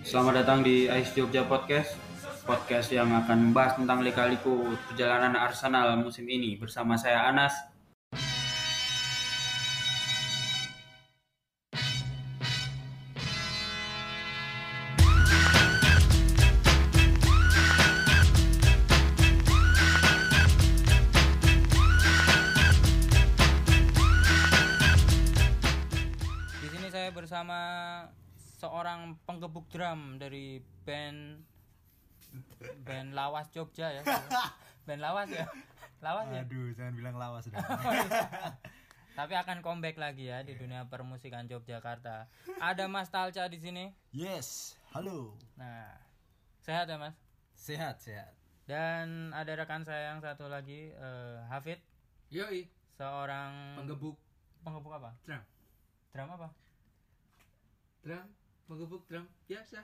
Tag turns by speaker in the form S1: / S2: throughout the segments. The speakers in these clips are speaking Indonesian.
S1: Selamat datang di Ais Jogja Podcast Podcast yang akan membahas tentang lika-liku perjalanan Arsenal musim ini Bersama saya Anas
S2: Di sini saya bersama seorang penggebuk drum dari band band Lawas Jogja ya. Band Lawas ya. Lawas ya.
S3: Aduh, jangan bilang lawas dong.
S2: Tapi akan comeback lagi ya
S3: Iya.
S2: di dunia permusikan Yogyakarta. Ada Mas Talca di sini.
S3: yes, halo.
S2: Nah, sehat ya Mas.
S3: Sehat, sehat.
S2: Dan ada rekan saya yang satu lagi eh, Hafid,
S4: Yoi,
S2: seorang
S4: penggebuk
S2: penggebuk apa?
S4: drum,
S2: Drum apa?
S4: drum, penggebuk drum biasa.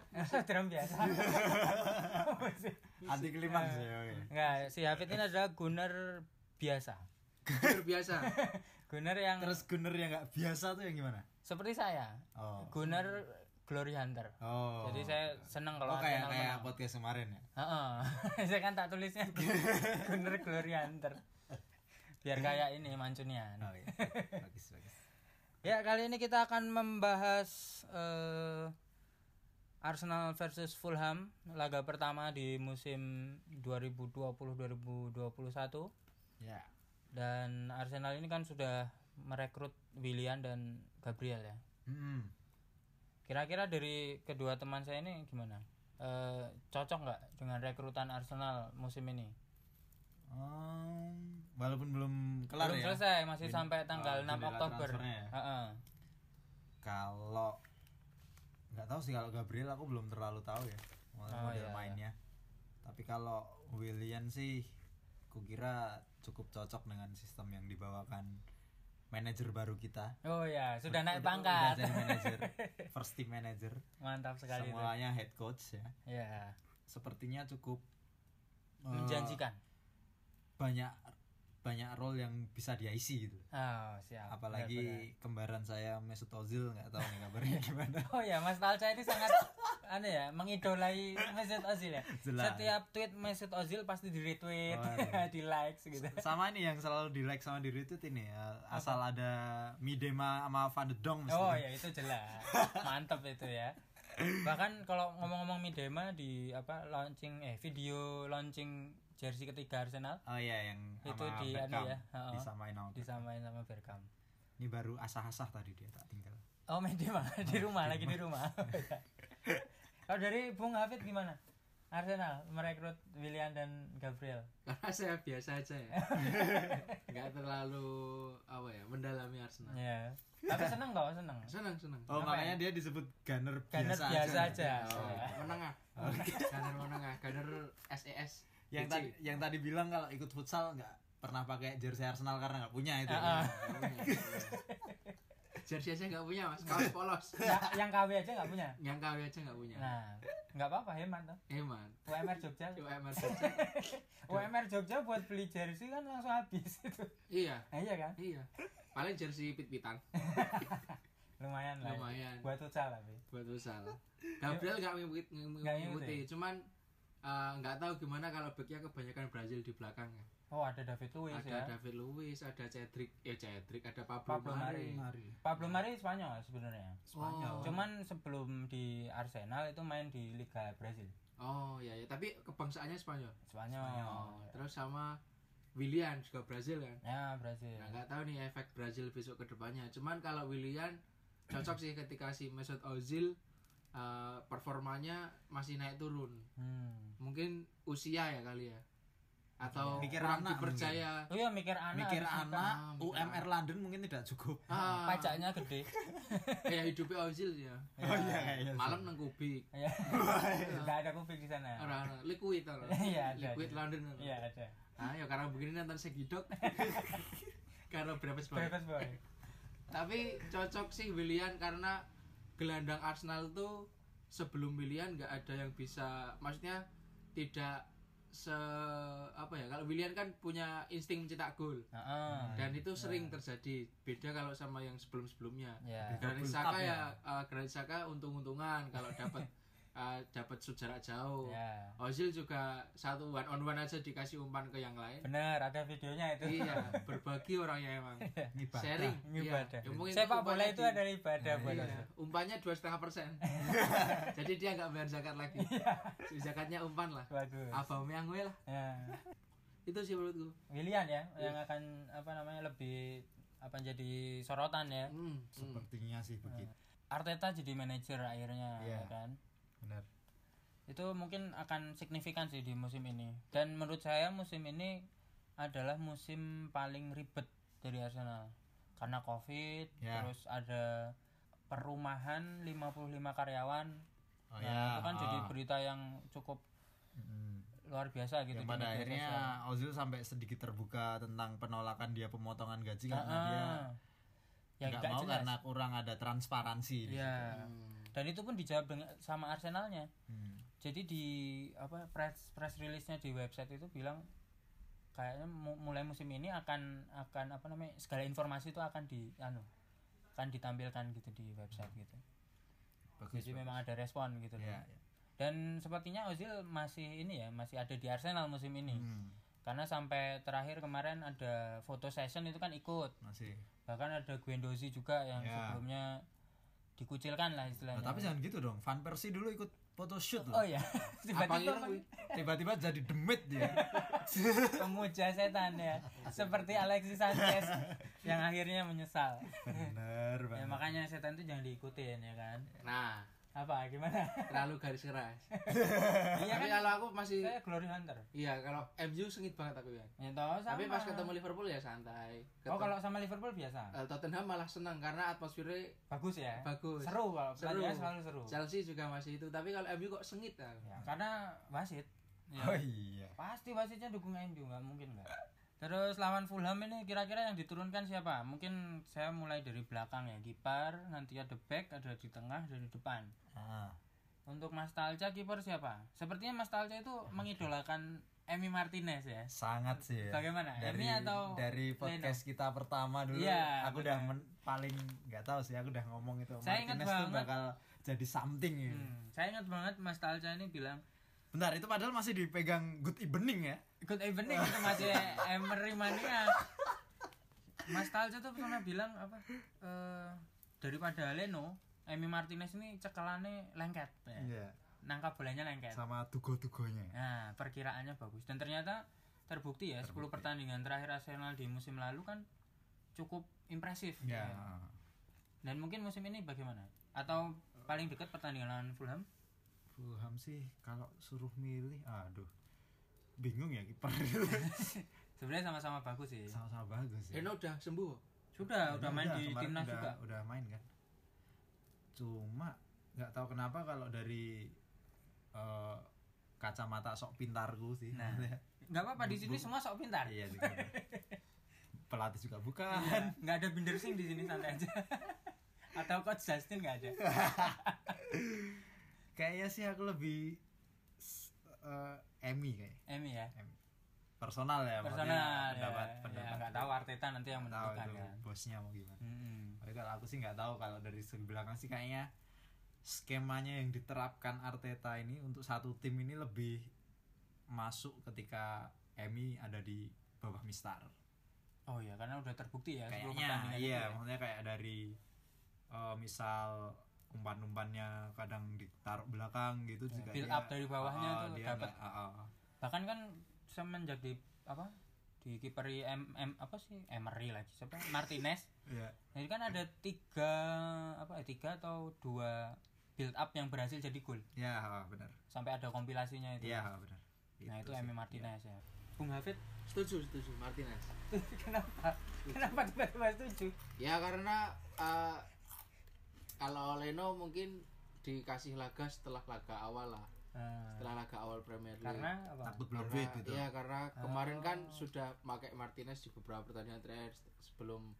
S2: drum biasa.
S3: Anti klimaks ya. oke.
S2: Enggak, si Hafid ini adalah gunner biasa.
S4: Gunner biasa.
S2: Gunner yang
S3: Terus gunner yang nggak biasa tuh yang gimana?
S2: seperti saya
S3: Oh.
S2: Gunner Glory Hunter
S3: Oh.
S2: jadi saya seneng kalau
S3: oh, kayak
S2: Arsenal
S3: kayak
S2: menang.
S3: podcast kemarin ya.
S2: Heeh. saya kan tak tulisnya Gunner Glory Hunter biar kayak ini mancunian
S3: Oh, iya. bagus, bagus.
S2: ya kali ini kita akan membahas eh, Arsenal versus Fulham laga pertama di musim 2020-2021
S3: Ya.
S2: dan Arsenal ini kan sudah merekrut Willian dan Gabriel ya
S3: Hmm.
S2: Kira-kira dari kedua teman saya ini gimana? Eh, cocok nggak dengan rekrutan Arsenal musim ini?
S3: Um, walaupun belum kelar
S2: Belum
S3: ya.
S2: selesai, masih
S3: Win-
S2: sampai tanggal
S3: oh,
S2: 6
S3: jendela
S2: Oktober.
S3: transfernya ya?
S2: Heeh.
S3: Kalau nggak tahu sih kalau Gabriel aku belum terlalu tahu ya model,
S2: Oh,
S3: model
S2: iya.
S3: mainnya. Tapi kalau William sih kukira cukup cocok dengan sistem yang dibawakan manajer baru kita.
S2: Oh ya, sudah naik
S3: Udah- udah
S2: pangkat.
S3: jadi manajer first team manager
S2: Mantap sekali itu.
S3: semuanya head coach ya
S2: Ya,
S3: sepertinya cukup eh,
S2: menjanjikan.
S3: banyak banyak role yang bisa dia isi gitu
S2: Oh, siap.
S3: apalagi
S2: Benar-benar.
S3: kembaran saya Mesut Ozil nggak tahu nih kabarnya gimana
S2: Oh ya, Mas Talca ini sangat aneh ya, mengidolai Mesut Ozil ya.
S3: Jelas.
S2: Setiap tweet Mesut Ozil pasti di retweet,
S3: Waduh.
S2: di likes gitu.
S3: sama ini yang selalu di like sama di retweet ini ya, asal ada Midema sama Van de Dong
S2: Oh
S3: mestinya.
S2: ya itu jelas. Mantap itu ya. Bahkan kalau ngomong-ngomong Midema di apa launching eh video launching jersey ketiga Arsenal
S3: oh iya yang
S2: Itu
S3: sama
S2: di- anu
S3: Beckham,
S2: ya, oh.
S3: disamain sama Beckham.
S2: disamain sama Bergam.
S3: ini baru asah-asah tadi dia tak tinggal
S2: Oh Midema di rumah lagi di rumah. kalau dari Bung Hafid gimana? Arsenal merekrut Willian dan Gabriel.
S4: Karena saya biasa aja ya. Enggak terlalu apa ya, mendalami Arsenal.
S2: Ya. Tapi seneng kok, seneng.
S4: Senang, senang.
S2: Apa
S3: oh
S2: ya?
S3: makanya dia disebut gunner
S2: Gunner
S3: biasa,
S2: biasa
S3: aja.
S2: aja.
S4: Oh, Menengah. Gunner menengah, gunner SES.
S3: yang
S4: Kecil.
S3: tadi yang tadi bilang kalau ikut futsal nggak pernah pakai jersey Arsenal karena nggak punya itu
S2: Ah, ah.
S3: ya.
S4: Jersey aja nggak punya mas, kaos polos.
S2: Yang, Ya, yang KW aja nggak punya.
S4: Yang KW aja nggak punya.
S2: Nah, nggak apa-apa hemat tuh.
S4: Eman.
S2: UMR Jogja.
S4: UMR Jogja.
S2: UMR Jogja buat beli jersey kan langsung habis itu.
S4: Iya,
S2: Nah, iya kan?
S4: iya. Paling jersey pit-pitan.
S2: Lumayan lah.
S4: Lumayan.
S2: Nah, Buat futsal tapi.
S4: buat usah Gabriel nggak mengikut- nge-
S2: Nggak
S4: mengikuti
S2: ngikuti.
S4: cuman eh, nggak tahu gimana kalau backnya kebanyakan Brazil di belakang ya.
S2: Oh, ada David Luiz
S4: ada
S2: ya.
S4: David Luiz ada Cedric ya Cedric ada Pablo,
S2: Pablo Mari.
S4: Mari
S3: Mari.
S2: Pablo Mari Spanyol sebenarnya.
S3: Spanyol.
S4: Oh.
S2: Cuman sebelum di Arsenal itu main di Liga Brazil.
S4: oh ya ya tapi kebangsaannya Spanyol
S2: Spanyol.
S4: oh, terus sama Willian juga Brazil kan
S2: Ya, Brazil.
S4: nah, nggak tahu nih efek Brazil besok ke depannya cuman kalau Willian cocok sih ketika si Mesut Ozil eh, performanya masih naik turun
S2: Hmm.
S4: mungkin usia ya kali ya
S2: Iya.
S4: atau
S3: Mikir
S4: kurang
S3: anak
S4: dipercaya
S2: Oh iya mikir anak.
S3: mikir
S2: harus nikah.
S3: anak
S4: mikir
S3: UMR
S2: Iya.
S3: London mungkin tidak cukup
S4: Ah,
S2: Pajaknya gede.
S4: kayak hidupnya Ozil ya.
S3: oh iya kayaknya sih.
S4: Malam nang kubik.
S2: Ya. Enggak ada kuping di sana.
S4: Ora ora liquid to.
S2: Iya, ada,
S4: Liquid
S2: ada.
S4: London. to.
S2: Iya, ada.
S4: Ah, ya karena begini nonton segidok. karena berapa sebanyak.
S2: Bebas boy.
S4: Tapi cocok sih Willian karena gelandang Arsenal tuh sebelum Willian nggak ada yang bisa maksudnya tidak se apa ya kalau Willian kan punya insting mencetak gol
S2: Heeh.
S4: dan itu
S2: nah.
S4: sering terjadi beda kalau sama yang sebelum sebelumnya
S2: Ya.
S4: Granit
S3: Double
S4: Saka
S3: tap
S4: ya,
S3: ya.
S4: eh, Granit Saka untung-untungan kalau dapat eh, dapat shoot jarak jauh.
S2: Ya.
S4: Ozil juga satu one on one aja dikasih umpan ke yang lain.
S2: Bener, ada videonya itu.
S4: iya, berbagi orangnya emang.
S3: Ngibadah.
S4: Sharing.
S2: Ibadah.
S4: Iya. Ya, mungkin
S2: Sepak bola
S4: umpannya
S2: itu
S4: di-
S2: adalah ibadah
S3: Nah,
S2: buat
S4: Iya,
S2: saya.
S4: umpannya dua setengah persen. Jadi dia nggak bayar zakat lagi.
S2: Iya.
S4: Zakatnya umpan lah.
S2: Bagus.
S4: Abang yang lah.
S2: Ya.
S4: Itu sih menurutku.
S2: William ya yang akan apa namanya lebih apa jadi sorotan ya.
S4: Hmm, hmm.
S3: sepertinya sih begitu
S2: Arteta jadi manajer akhirnya ya
S3: Iya.
S2: kan.
S3: benar
S2: Itu mungkin akan signifikan sih di musim ini. Dan menurut saya musim ini adalah musim paling ribet dari Arsenal. Karena Covid,
S3: Ya.
S2: terus ada perumahan 55 karyawan.
S3: oh
S2: Nah,
S3: ya
S2: itu kan jadi
S3: ah.
S2: berita yang cukup
S3: Mm.
S2: luar biasa gitu
S3: yang
S2: di media
S3: pada akhirnya
S2: sosial.
S3: Ozil sampai sedikit terbuka tentang penolakan dia pemotongan gaji karena
S2: Ah,
S3: dia
S2: ya
S3: nggak
S2: nggak
S3: mau
S2: jelas.
S3: karena kurang ada transparansi di
S2: Iya.
S4: Hmm.
S2: dan itu pun dijawab dengan- sama Arsenalnya
S3: situ. Hmm.
S2: jadi di apa press press release-nya di website itu bilang kayaknya mu- mulai musim ini akan akan apa namanya segala informasi itu akan di anu akan ditampilkan gitu di website gitu
S3: bagus
S2: jadi
S3: bagus.
S2: memang ada respon gitu loh
S3: Iya, iya.
S2: dan sepertinya Ozil masih ini ya masih ada di Arsenal musim ini
S3: Hmm,
S2: karena sampai terakhir kemarin ada foto session itu kan ikut
S3: masih Nah,
S2: bahkan ada Guendouzi juga yang
S3: Ya.
S2: sebelumnya dikucilkan lah
S3: Nah,
S2: istilahnya
S4: Oh,
S3: tapi jangan gitu dong Van Persie dulu ikut photoshoot
S2: oh
S3: loh
S2: iya
S4: Abang
S2: tiba-tiba
S4: Irwi.
S3: tiba-tiba jadi demit dia
S2: pemuja setan ya seperti Alexis Sanchez yang akhirnya menyesal
S3: bener
S2: ya
S3: banget
S2: makanya setan itu jangan diikutin ya kan
S4: Nah,
S2: apa gimana
S4: terlalu garis keras.
S2: iya
S4: Tapi
S2: kan
S4: kalau aku masih
S2: saya glory hunter
S4: Iya, kalau MU sengit banget aku ya.
S2: ya toh, sama.
S4: Tapi pas ketemu Liverpool ya santai.
S2: oh
S4: Ketemu-
S2: kalau sama Liverpool biasa
S4: eh, Tottenham malah senang karena atmosfernya
S2: bagus ya
S4: bagus.
S2: seru kalau pertandingan selalu seru
S4: Chelsea juga masih itu, tapi kalau MU kok sengit kan.
S2: Oh. Ya, karena wasit Ya.
S3: oh iya
S2: Pasti wasitnya dukung MU nggak mungkin nggak. Terus lawan Fulham ini kira-kira yang diturunkan siapa? Mungkin saya mulai dari belakang ya kiper, nanti ada back, ada di tengah, ada di depan.
S3: Ah,
S2: Untuk Mas Talca kiper siapa? Sepertinya Mas Talca itu mengidolakan Emi Martinez ya.
S3: sangat sih ya.
S2: Bagaimana?
S3: dari
S2: Emi atau
S3: dari
S2: Leno?
S3: podcast kita pertama dulu
S2: Iya,
S3: aku udah men- paling nggak tahu sih aku udah ngomong itu
S2: Saya ingat
S3: Martinez tuh
S2: banget.
S3: bakal jadi something ya.
S2: Hmm, saya ingat banget Mas Talca ini bilang
S3: bentar itu padahal masih dipegang good evening ya
S2: Good evening itu masih Emery mania. Mas Talca tuh pernah bilang apa? eh, daripada Leno, Emi Martinez ini cekelannya lengket. Ya.
S3: Iya.
S2: Nangkap bolanya lengket.
S3: sama tugo-tugonya
S2: Nah, perkiraannya bagus dan ternyata terbukti ya 10 pertandingan terakhir Arsenal di musim lalu kan cukup impresif.
S3: ya
S2: Dan mungkin musim ini bagaimana? Atau paling dekat pertandingan lawan Fulham?
S3: Fulham sih kalau suruh milih aduh bingung ya kiper
S2: Sebenarnya sama-sama bagus sih.
S3: sama-sama bagus ya
S4: Leno udah sembuh.
S2: Sudah, udah main di
S3: kemarin
S2: timnas
S3: udah-
S2: juga.
S3: udah main kan cuma nggak tahu kenapa kalau dari eh, kacamata sok pintarku sih
S2: Nah. Nggak apa-apa di sini semua sok pintar.
S3: iya juga. pelatih juga bukan
S2: nggak ada binder sing di sini santai aja atau coach Justin nggak ada
S3: kayaknya sih aku lebih s- eh, Emi kayak
S2: Emi ya
S3: personal ya
S2: personal
S3: maksudnya
S2: ya,
S3: pendapat
S2: ya,
S3: pendapat
S2: nggak tahu Arteta nanti yang
S3: Nggak tahu
S2: menentukan
S3: itu
S2: kan
S3: bosnya mau gimana
S2: Mm-mm.
S3: Tapi kalau aku sih nggak tahu kalau dari segi belakang sih kayaknya skemanya yang diterapkan Arteta ini untuk satu tim ini lebih masuk ketika Emi ada di bawah Mistar.
S2: oh iya karena udah terbukti ya sebelum
S3: Kayaknya
S2: pertandingan
S3: iya,
S2: itu ya.
S3: maksudnya kayak dari eh, misal umpan-umpannya kadang ditaruh belakang gitu
S2: Iya.
S3: juga
S2: build
S3: dia-
S2: up dari bawahnya
S3: Ah,
S2: tuh
S3: dia
S2: dapat.
S3: nggak- ah, ah.
S2: bahkan kan semenjak di apa di kiperi M, M apa sih Emery lagi siapa Martinez
S3: Iya.
S2: jadi kan ada tiga apa eh, tiga atau dua build up yang berhasil jadi gol
S3: Ya, ah, benar.
S2: sampai ada kompilasinya itu ya.
S3: Iya, ah, benar.
S2: nah itu
S4: gitu
S3: sih.
S2: Emi Martinez
S4: Iya.
S2: ya Bung Hafid
S4: Setuju, setuju Martinez.
S2: kenapa kenapa tiba-tiba setuju
S4: Ya karena eh, kalau Leno mungkin dikasih laga setelah laga awal lah,
S2: Ah,
S4: setelah laga awal Premier League.
S2: karena Ah. apa
S3: Takut belum gitu.
S4: Karena-
S3: duit itu.
S4: Iya karena kemarin kan sudah pakai Martinez di beberapa pertandingan terakhir sebelum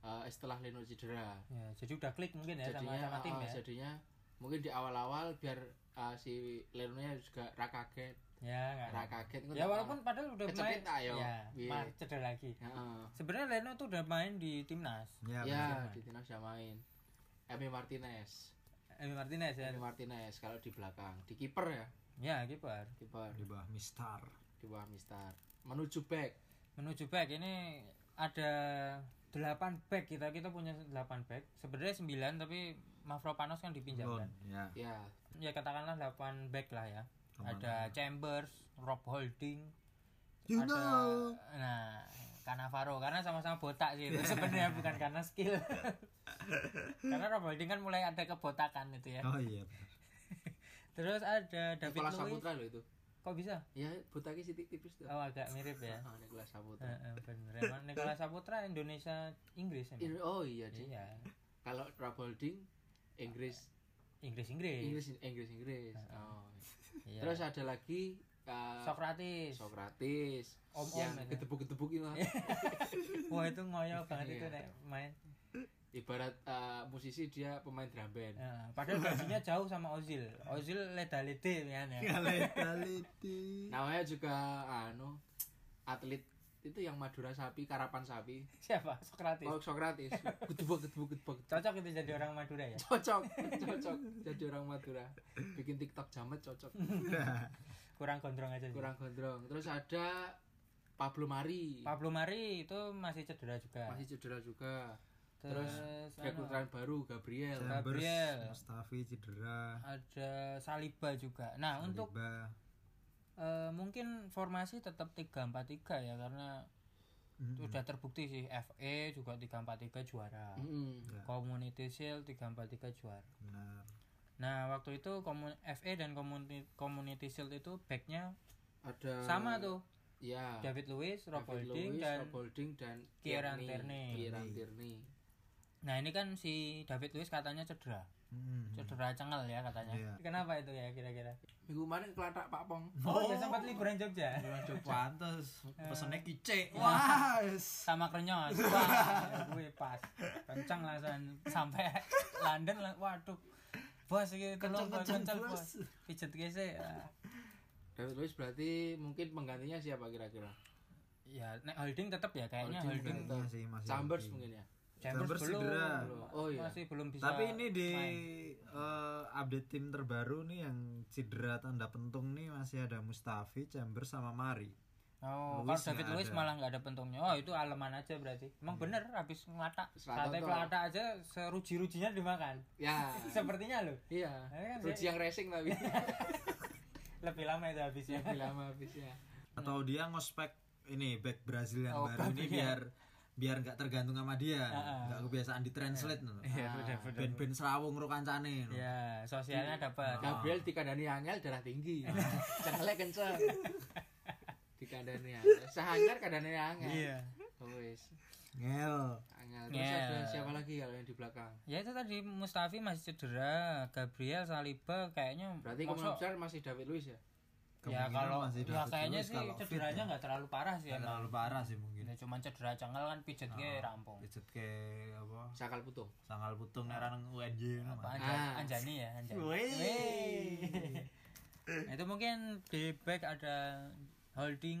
S4: eh, setelah Leno cedera.
S2: ya jadi udah klik mungkin ya sama
S4: Jadinya
S2: sama tim
S4: eh,
S2: ya
S4: jadinya mungkin di awal-awal biar eh, si Leno-nya juga ra kaget,
S2: ya nggak
S4: ra kaget. kan? Ah.
S2: ya walaupun padahal udah
S4: Kecepit, ayo.
S2: ya
S4: Iya.
S2: malah cedera lagi
S4: Heeh.
S2: sebenarnya Leno tuh udah main di timnas
S3: Iya,
S4: ah. ya
S2: main.
S4: di timnas udah main. Emi Martinez.
S2: Emi Martinez ya.
S4: Emi Martinez kalau di belakang, di kiper ya,
S2: Ya, kiper.
S4: kiper
S3: di bawah Mistar
S4: di bawah Mistar. Menuju back.
S2: Menuju back ini ada 8 back kita. Kita punya 8 back. Sebenarnya 9 tapi Mavropanos kan dipinjamkan.
S3: Loan, ya
S4: Ya,
S2: Ya katakanlah 8 back lah ya.
S3: Teman.
S2: Ada Chambers, Rob Holding,
S3: You
S2: ada
S3: know.
S2: nah Cannavaro karena sama-sama botak sih itu sebenarnya bukan karena skill. karena Rob Holding kan mulai ada kebotakan itu ya.
S3: oh iya benar.
S2: Terus ada David
S4: Nicolas
S2: Luiz.
S4: Saputra loh itu.
S2: Kok bisa?
S4: Ya, butaki sidik tipis tuh.
S2: Oh agak mirip ya.
S4: Ah, Nicolas Saputra.
S2: Heeh, bener emang Nicolas Saputra Indonesia Inggris emang.
S4: Ini- Oh iya, Ji.
S2: Eh, Iya.
S4: Kalau Rabolding Inggris,
S2: Inggris Inggris. Eh,
S4: Inggris, Inggris, Inggris. Oh.
S2: Iya.
S4: Iya. Terus ada lagi eh,
S2: Sokrates.
S4: Sokrates.
S2: Om-om
S4: yang
S2: aja.
S4: gedebuk-gedebuk itu.
S2: Wah itu ngoyo banget itu
S4: Iya.
S2: nek main.
S4: Ibarat eh, musisi dia pemain drum band.
S2: Heeh, Ya, padahal gajinya jauh sama Ozil. Ozil leda lede ya.
S4: Iya.
S3: Kaleta-leti.
S4: Namanya juga anu atlet itu yang Madura sapi, karapan sapi.
S2: Siapa? Sokrates.
S4: Oh, Sokrates. Gedebuk gedebuk gedebuk.
S2: Cocok itu jadi orang Madura ya.
S4: Cocok, cocok. Jadi orang Madura. Bikin TikTok jamet cocok.
S2: Kurang gondrong aja. sih.
S4: Kurang gondrong. Terus ada Pablo Mari.
S2: Pablo Mari itu masih cedera juga.
S4: Masih cedera juga.
S2: Terus, anu,
S4: Rekrutan baru Gabriel.
S3: Chambers,
S2: Iya, Gabriel.
S3: Mustafi cedera
S2: ada Saliba juga. Nah, untuk
S3: Saliba.
S2: eh, mungkin formasi tetap 3-4-3 ya karena
S4: Hmm.
S3: Mm-mm.
S2: udah terbukti sih FA juga 343 juara.
S4: Mm-mm.
S2: Community Shield 343 juara.
S3: benar
S2: Nah, waktu itu komun FA dan community, community Shield itu backnya
S4: Ada
S2: sama tuh.
S4: Ya.
S2: David Luiz, Rob
S4: Eh, David
S2: Holding
S4: Luiz,
S2: dan
S4: Rob Holding dan
S2: Kieran
S4: Tierney.
S2: Tierney.
S4: Kieran Tierney.
S2: Nah, ini kan si David Luiz katanya cedera.
S3: Mm-mm.
S2: Cedera cengel ya katanya.
S3: Hmm. Iya.
S2: Kenapa itu ya kira-kira?
S4: Minggu kemarin kelantak Pak Pong.
S2: Oh, ya sempat liburan Jogja.
S3: pantes pesennya kice wah yes.
S2: sama krenyos wah gue pas kencang langsung sampai London lah. waduh bos gitu kencang
S3: Kenceng-kenceng,
S2: kencang
S3: bos.
S2: bos pijet kese ah.
S4: David Luiz berarti mungkin penggantinya siapa kira-kira?
S2: ya nek holding tetap ya kayaknya
S4: Holding
S2: holding,
S3: Iya sih, masih
S4: Chambers
S3: lebih.
S4: mungkin ya.
S2: Chambers
S3: Chambers
S2: belum
S3: cedera.
S4: Oh, iya.
S2: masih belum bisa
S3: tapi ini di
S2: main.
S3: eh, update tim terbaru nih yang cedera tanda pentung nih masih ada Mustafi, Chambers sama Mari.
S2: oh
S3: Luis
S2: kalau David
S3: nggak
S2: Luiz
S3: ada. Iya.
S2: malah nggak ada pentungnya oh itu aleman aja berarti emang bener habis ngelatak
S4: Selatan
S2: sate
S4: tuh.
S2: pelatak aja seruji-rujinya dimakan
S4: Ya.
S2: sepertinya loh
S4: Iya.
S2: Tapi kan
S4: Ruji
S2: dia-
S4: yang racing tapi
S2: lebih lama itu habisnya
S4: lebih lama habisnya.
S3: Atau dia ngospek ini back Brazil yang
S2: Hmm. Oh,
S3: baru ini
S2: Gabriel.
S3: biar biar nggak tergantung sama dia,
S2: Ah, ah.
S3: nggak kebiasaan ditranslate nah. no.
S2: Iya,
S4: Ah,
S2: bener, bener.
S3: Ben-ben serawung ro kancane no.
S2: ya sosialnya dapat
S3: Ah.
S4: Gabriel dikandani Angel darah tinggi. Cengelnya kenceng. dikandani Angel. Sehanjar kandani Angel.
S2: Iya.
S4: Oh, wis.
S3: Ngel.
S4: Angel. Terus
S2: Ngel.
S4: ada siapa lagi kalau yang di belakang?
S2: Ya itu tadi Mustafi masih cedera, Gabriel Saliba kayaknya
S4: Berarti
S2: mosok-
S4: kemungkinan besar masih David Luiz ya?
S2: ya
S3: Kemungkinan
S2: kalau
S3: masih
S2: ya
S3: David
S2: kayaknya
S3: Luiz
S2: sih
S3: kalau fit
S2: cederanya
S3: ya.
S2: nggak terlalu parah sih
S3: Nggak
S2: emang.
S3: terlalu parah sih mungkin.
S2: Ya cuman cedera cengel kan pijet ge
S3: Ah.
S2: rampung.
S3: Pijet ke apa?
S4: Sakal putung.
S3: Sangal putung ngarang UNJ no.
S2: Apa
S3: Mas.
S2: Anjani,
S4: Ah.
S2: Anjani ya, Anjani.
S3: Wey.
S2: Nah, itu mungkin di back ada holding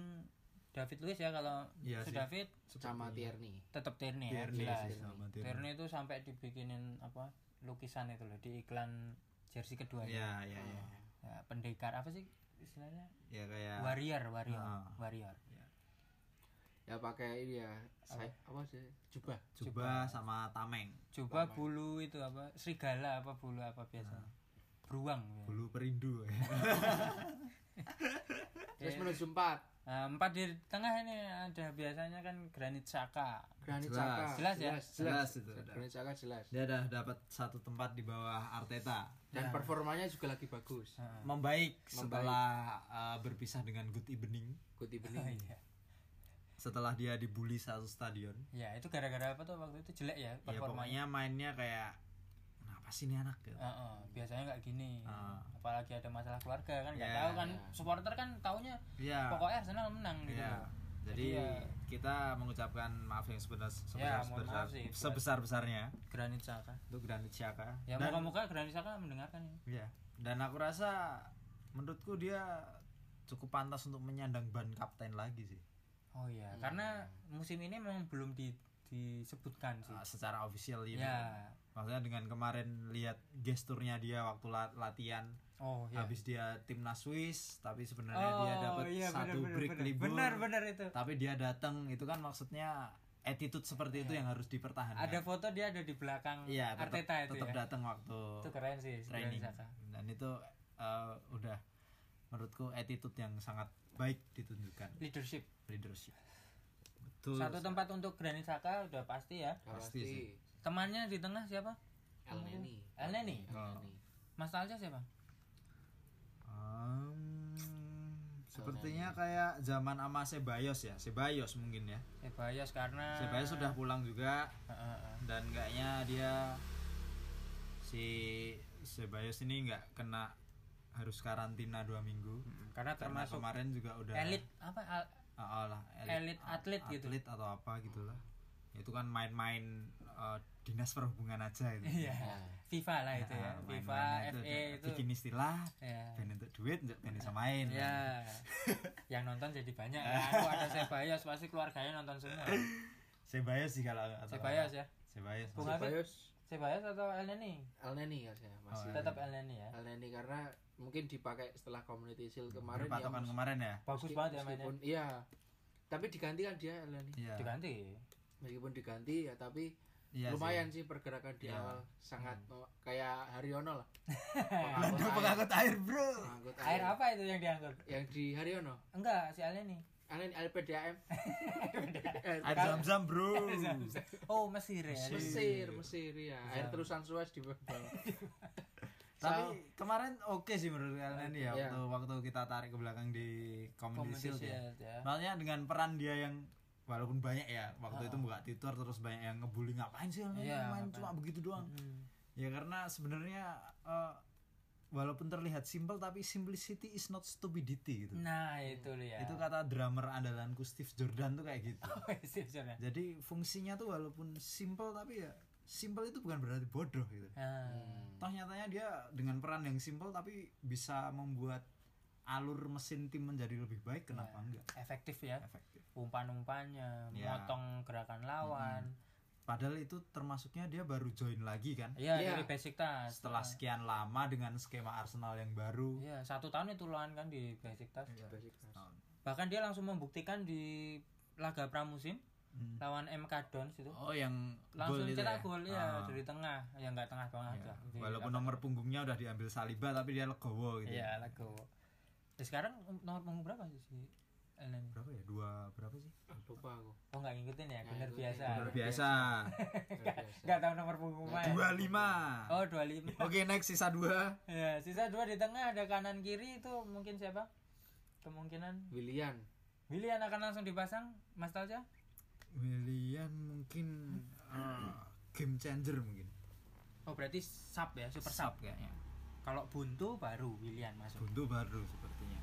S2: David Luiz ya kalau
S3: Iya
S2: si
S3: sih.
S2: David
S4: sama Tierney.
S2: tetap Tierney ya.
S3: Tierney
S2: jelas.
S3: sih sama Tierney.
S2: Tierney itu sampai dibikinin apa lukisan itu loh di iklan jersey keduanya.
S3: Ya, ya, ya.
S2: Ya, pendekar apa sih istilahnya?
S3: Ya kayak
S2: warrior warrior
S3: Ah.
S2: warrior
S4: Ya pakai ini ya. Saya apa sih? Jubah.
S3: Coba sama Tameng.
S2: coba bulu itu apa serigala apa bulu apa biasanya beruang ya.
S3: Ah. Bulu perindu.
S4: Terus
S2: Iya.
S4: menuju empat.
S2: Nah, empat di tengah ini ada biasanya kan granit saka
S4: Granit
S3: Jelas.
S4: Saka.
S2: Jelas ya?
S4: Jelas.
S3: Jelas itu. ada.
S4: Granit Saka jelas.
S3: Dia udah dapat satu tempat di bawah Arteta.
S4: Dan performanya juga lagi bagus.
S2: Nah,
S3: Membaik, setelah uh, berpisah dengan Good Evening,
S4: Good evening.
S2: Iya.
S3: setelah dia dibully satu stadion.
S2: ya itu gara-gara apa tuh waktu itu jelek ya
S3: Ya
S2: performanya
S3: pokoknya mainnya kayak kenapa sih ini anak gitu.
S2: Heeh, biasanya nggak gini
S3: Ah.
S2: apalagi ada masalah keluarga kan nggak
S3: Ya.
S2: tahu kan supporter kan taunya
S3: Iya.
S2: pokoknya Arsenal menang gitu
S3: Iya.
S2: loh.
S3: Jadi
S2: Jadi ya-
S3: kita mengucapkan maaf yang sebenar,
S2: Ya,
S3: sebesar,
S2: mohon maaf sih.
S3: sebesar besarnya
S2: granit saka
S3: untuk Granit Xhaka.
S2: ya
S3: Dan-
S2: muka-muka granit saka mendengarkan ini
S3: Iya. Dan aku rasa menurutku dia cukup pantas untuk menyandang ban kapten lagi sih.
S2: oh iya
S3: Hmm.
S2: karena musim ini memang belum di- disebutkan sih
S3: Uh, secara official ya.
S2: Ya,
S3: maksudnya dengan kemarin lihat gesturnya dia waktu la- latihan
S2: Oh iya.
S3: habis dia timnas Swiss tapi sebenarnya dia dapat
S2: iya, benar,
S3: satu
S2: benar,
S3: break
S2: benar.
S3: libur
S2: Benar benar itu.
S3: tapi dia datang itu kan maksudnya attitude seperti itu yang harus dipertahankan
S2: Ya. Ada foto dia ada di belakang
S3: iya tetap,
S2: Arteta itu
S3: tetap
S2: ya.
S3: datang waktu
S2: Itu keren sih Granit
S3: training
S2: Xhaka.
S3: dan itu eh, udah menurutku attitude yang sangat baik ditunjukkan
S2: Leadership.
S3: leadership betul
S2: Satu tempat untuk Granit Xhaka udah pasti ya.
S3: Pasti sih.
S2: Temannya di tengah siapa?
S4: El Neni.
S2: El Neni?
S3: Oh.
S2: Mas Talja siapa?
S3: Um, sepertinya kayak zaman ama Sebayos ya Sebayos mungkin ya
S2: Sebayos karena
S3: Sebayos sudah pulang juga
S2: Heeh, heeh.
S3: dan kayaknya dia si Sebayos ini nggak kena harus karantina dua minggu
S2: Hmm, karena
S3: karena
S2: termasuk
S3: kemarin juga udah
S2: elit apa al-
S3: Ah, ah lah,
S2: Elit atlet gitu.
S3: atlet atau apa gitulah itu kan main-main eh, dinas perhubungan aja itu
S2: iya
S4: Nah,
S2: FIFA lah itu ya
S3: Ah,
S2: FIFA FA
S3: main-mainnya ada-
S2: itu
S3: bikin istilah
S2: ya
S3: dan untuk duit untuk ben bisa main
S2: ya yang nonton jadi banyak ya aku ada Sebayos pasti keluarganya nonton semua
S3: Sebayos sih kalau atau
S2: Sebayos ya
S3: Sebayos
S2: Bung
S3: masih-
S2: Habib Sebayos atau Elneny
S4: El Neni harusnya masih.
S3: Oh,
S2: tetap Elneny ya
S4: El Neni karena mungkin dipakai setelah community shield kemarin ya,
S3: berpatokan
S4: meski-
S3: kemarin ya
S2: bagus banget ya mainnya
S4: meskipun- Iya. Tapi diganti kan dia El Neni.
S3: iya
S2: diganti
S4: Meskipun diganti ya tapi
S3: Iya sih.
S4: lumayan sih. pergerakan di
S3: Iya.
S4: awal sangat oh, kayak Haryono lah.
S3: Belanda pengangkut air bro
S4: Pengangkut
S2: air apa itu yang diangkut
S4: Yang di Haryono.
S2: enggak si Elneny
S4: Allen LPDAM. Eh,
S3: air zam-zam bro
S2: oh Mesir ya
S3: Mesir.
S4: Mesir, Mesir ya. Air terusan Suez di bawah.
S3: tapi kemarin oke sih menurut kalian ya
S4: Iya.
S3: waktu waktu kita tarik ke belakang di
S2: Community
S3: community shield ya
S2: Shield ya
S3: Maksudnya dengan peran dia yang walaupun banyak ya waktu itu buka Twitter terus banyak yang ngebully ngapain sih lu
S2: Ah. Iya, ngapain?"
S3: main cuma begitu doang.
S2: Hmm.
S3: Ya karena sebenarnya eh, walaupun terlihat simple tapi simplicity is not stupidity gitu.
S2: nah itu dia
S3: Itu kata drummer andalanku Steve Jordan tuh kayak gitu.
S2: Mesir sudah
S3: Jadi fungsinya tuh walaupun simple tapi ya simple itu bukan berarti bodoh gitu.
S2: Ah.
S3: Toh nyatanya dia dengan peran yang simple tapi bisa membuat alur mesin tim menjadi lebih baik
S2: Iya.
S3: kenapa enggak?
S2: efektif ya
S3: Efektif.
S2: umpan-umpannya
S3: Ya.
S2: motong gerakan lawan
S3: Padahal itu termasuknya dia baru join lagi kan.
S2: Iya
S4: Iya.
S2: dari basic touch
S3: Setelah sekian lama dengan skema Arsenal yang baru.
S2: Iya satu tahun itu loan kan di basic
S3: Iya,
S2: touch
S3: Setahun.
S2: bahkan dia langsung membuktikan di laga pramusim
S3: Hmm.
S2: lawan MK Dons itu
S3: Oh yang
S2: langsung
S3: gol itu
S2: cetak
S3: ya?
S2: gol ya
S3: Ah,
S2: dari tengah ya nggak tengah banget
S3: iya.
S2: lah. Jadi
S3: Walaupun
S2: apa-
S3: nomor punggungnya udah diambil Saliba tapi dia legowo gitu.
S2: iya
S3: ya.
S2: lagu Ya, sekarang nomor punggung berapa sih si Elneny?
S3: Berapa ya? Dua berapa sih?
S4: Lupa aku.
S2: Oh nggak ngikutin ya,
S4: Nggak
S2: bener
S4: ngikutin.
S2: biasa.
S4: Ah,
S3: Luar
S4: Bener
S3: biasa.
S2: Nggak tahu nomor punggung
S4: Nggak
S2: pemain.
S3: Dua lima.
S2: Oh 25
S3: Oke next sisa dua.
S2: Ya, sisa dua di tengah ada kanan kiri itu mungkin siapa? Kemungkinan
S4: William.
S2: Willian akan langsung dipasang Mas Talja?
S3: Willian mungkin ah, game changer mungkin.
S2: Oh berarti sub ya, super sub.
S3: kayaknya.
S2: Kalau buntu baru Willian masuk.
S3: Buntu baru sepertinya.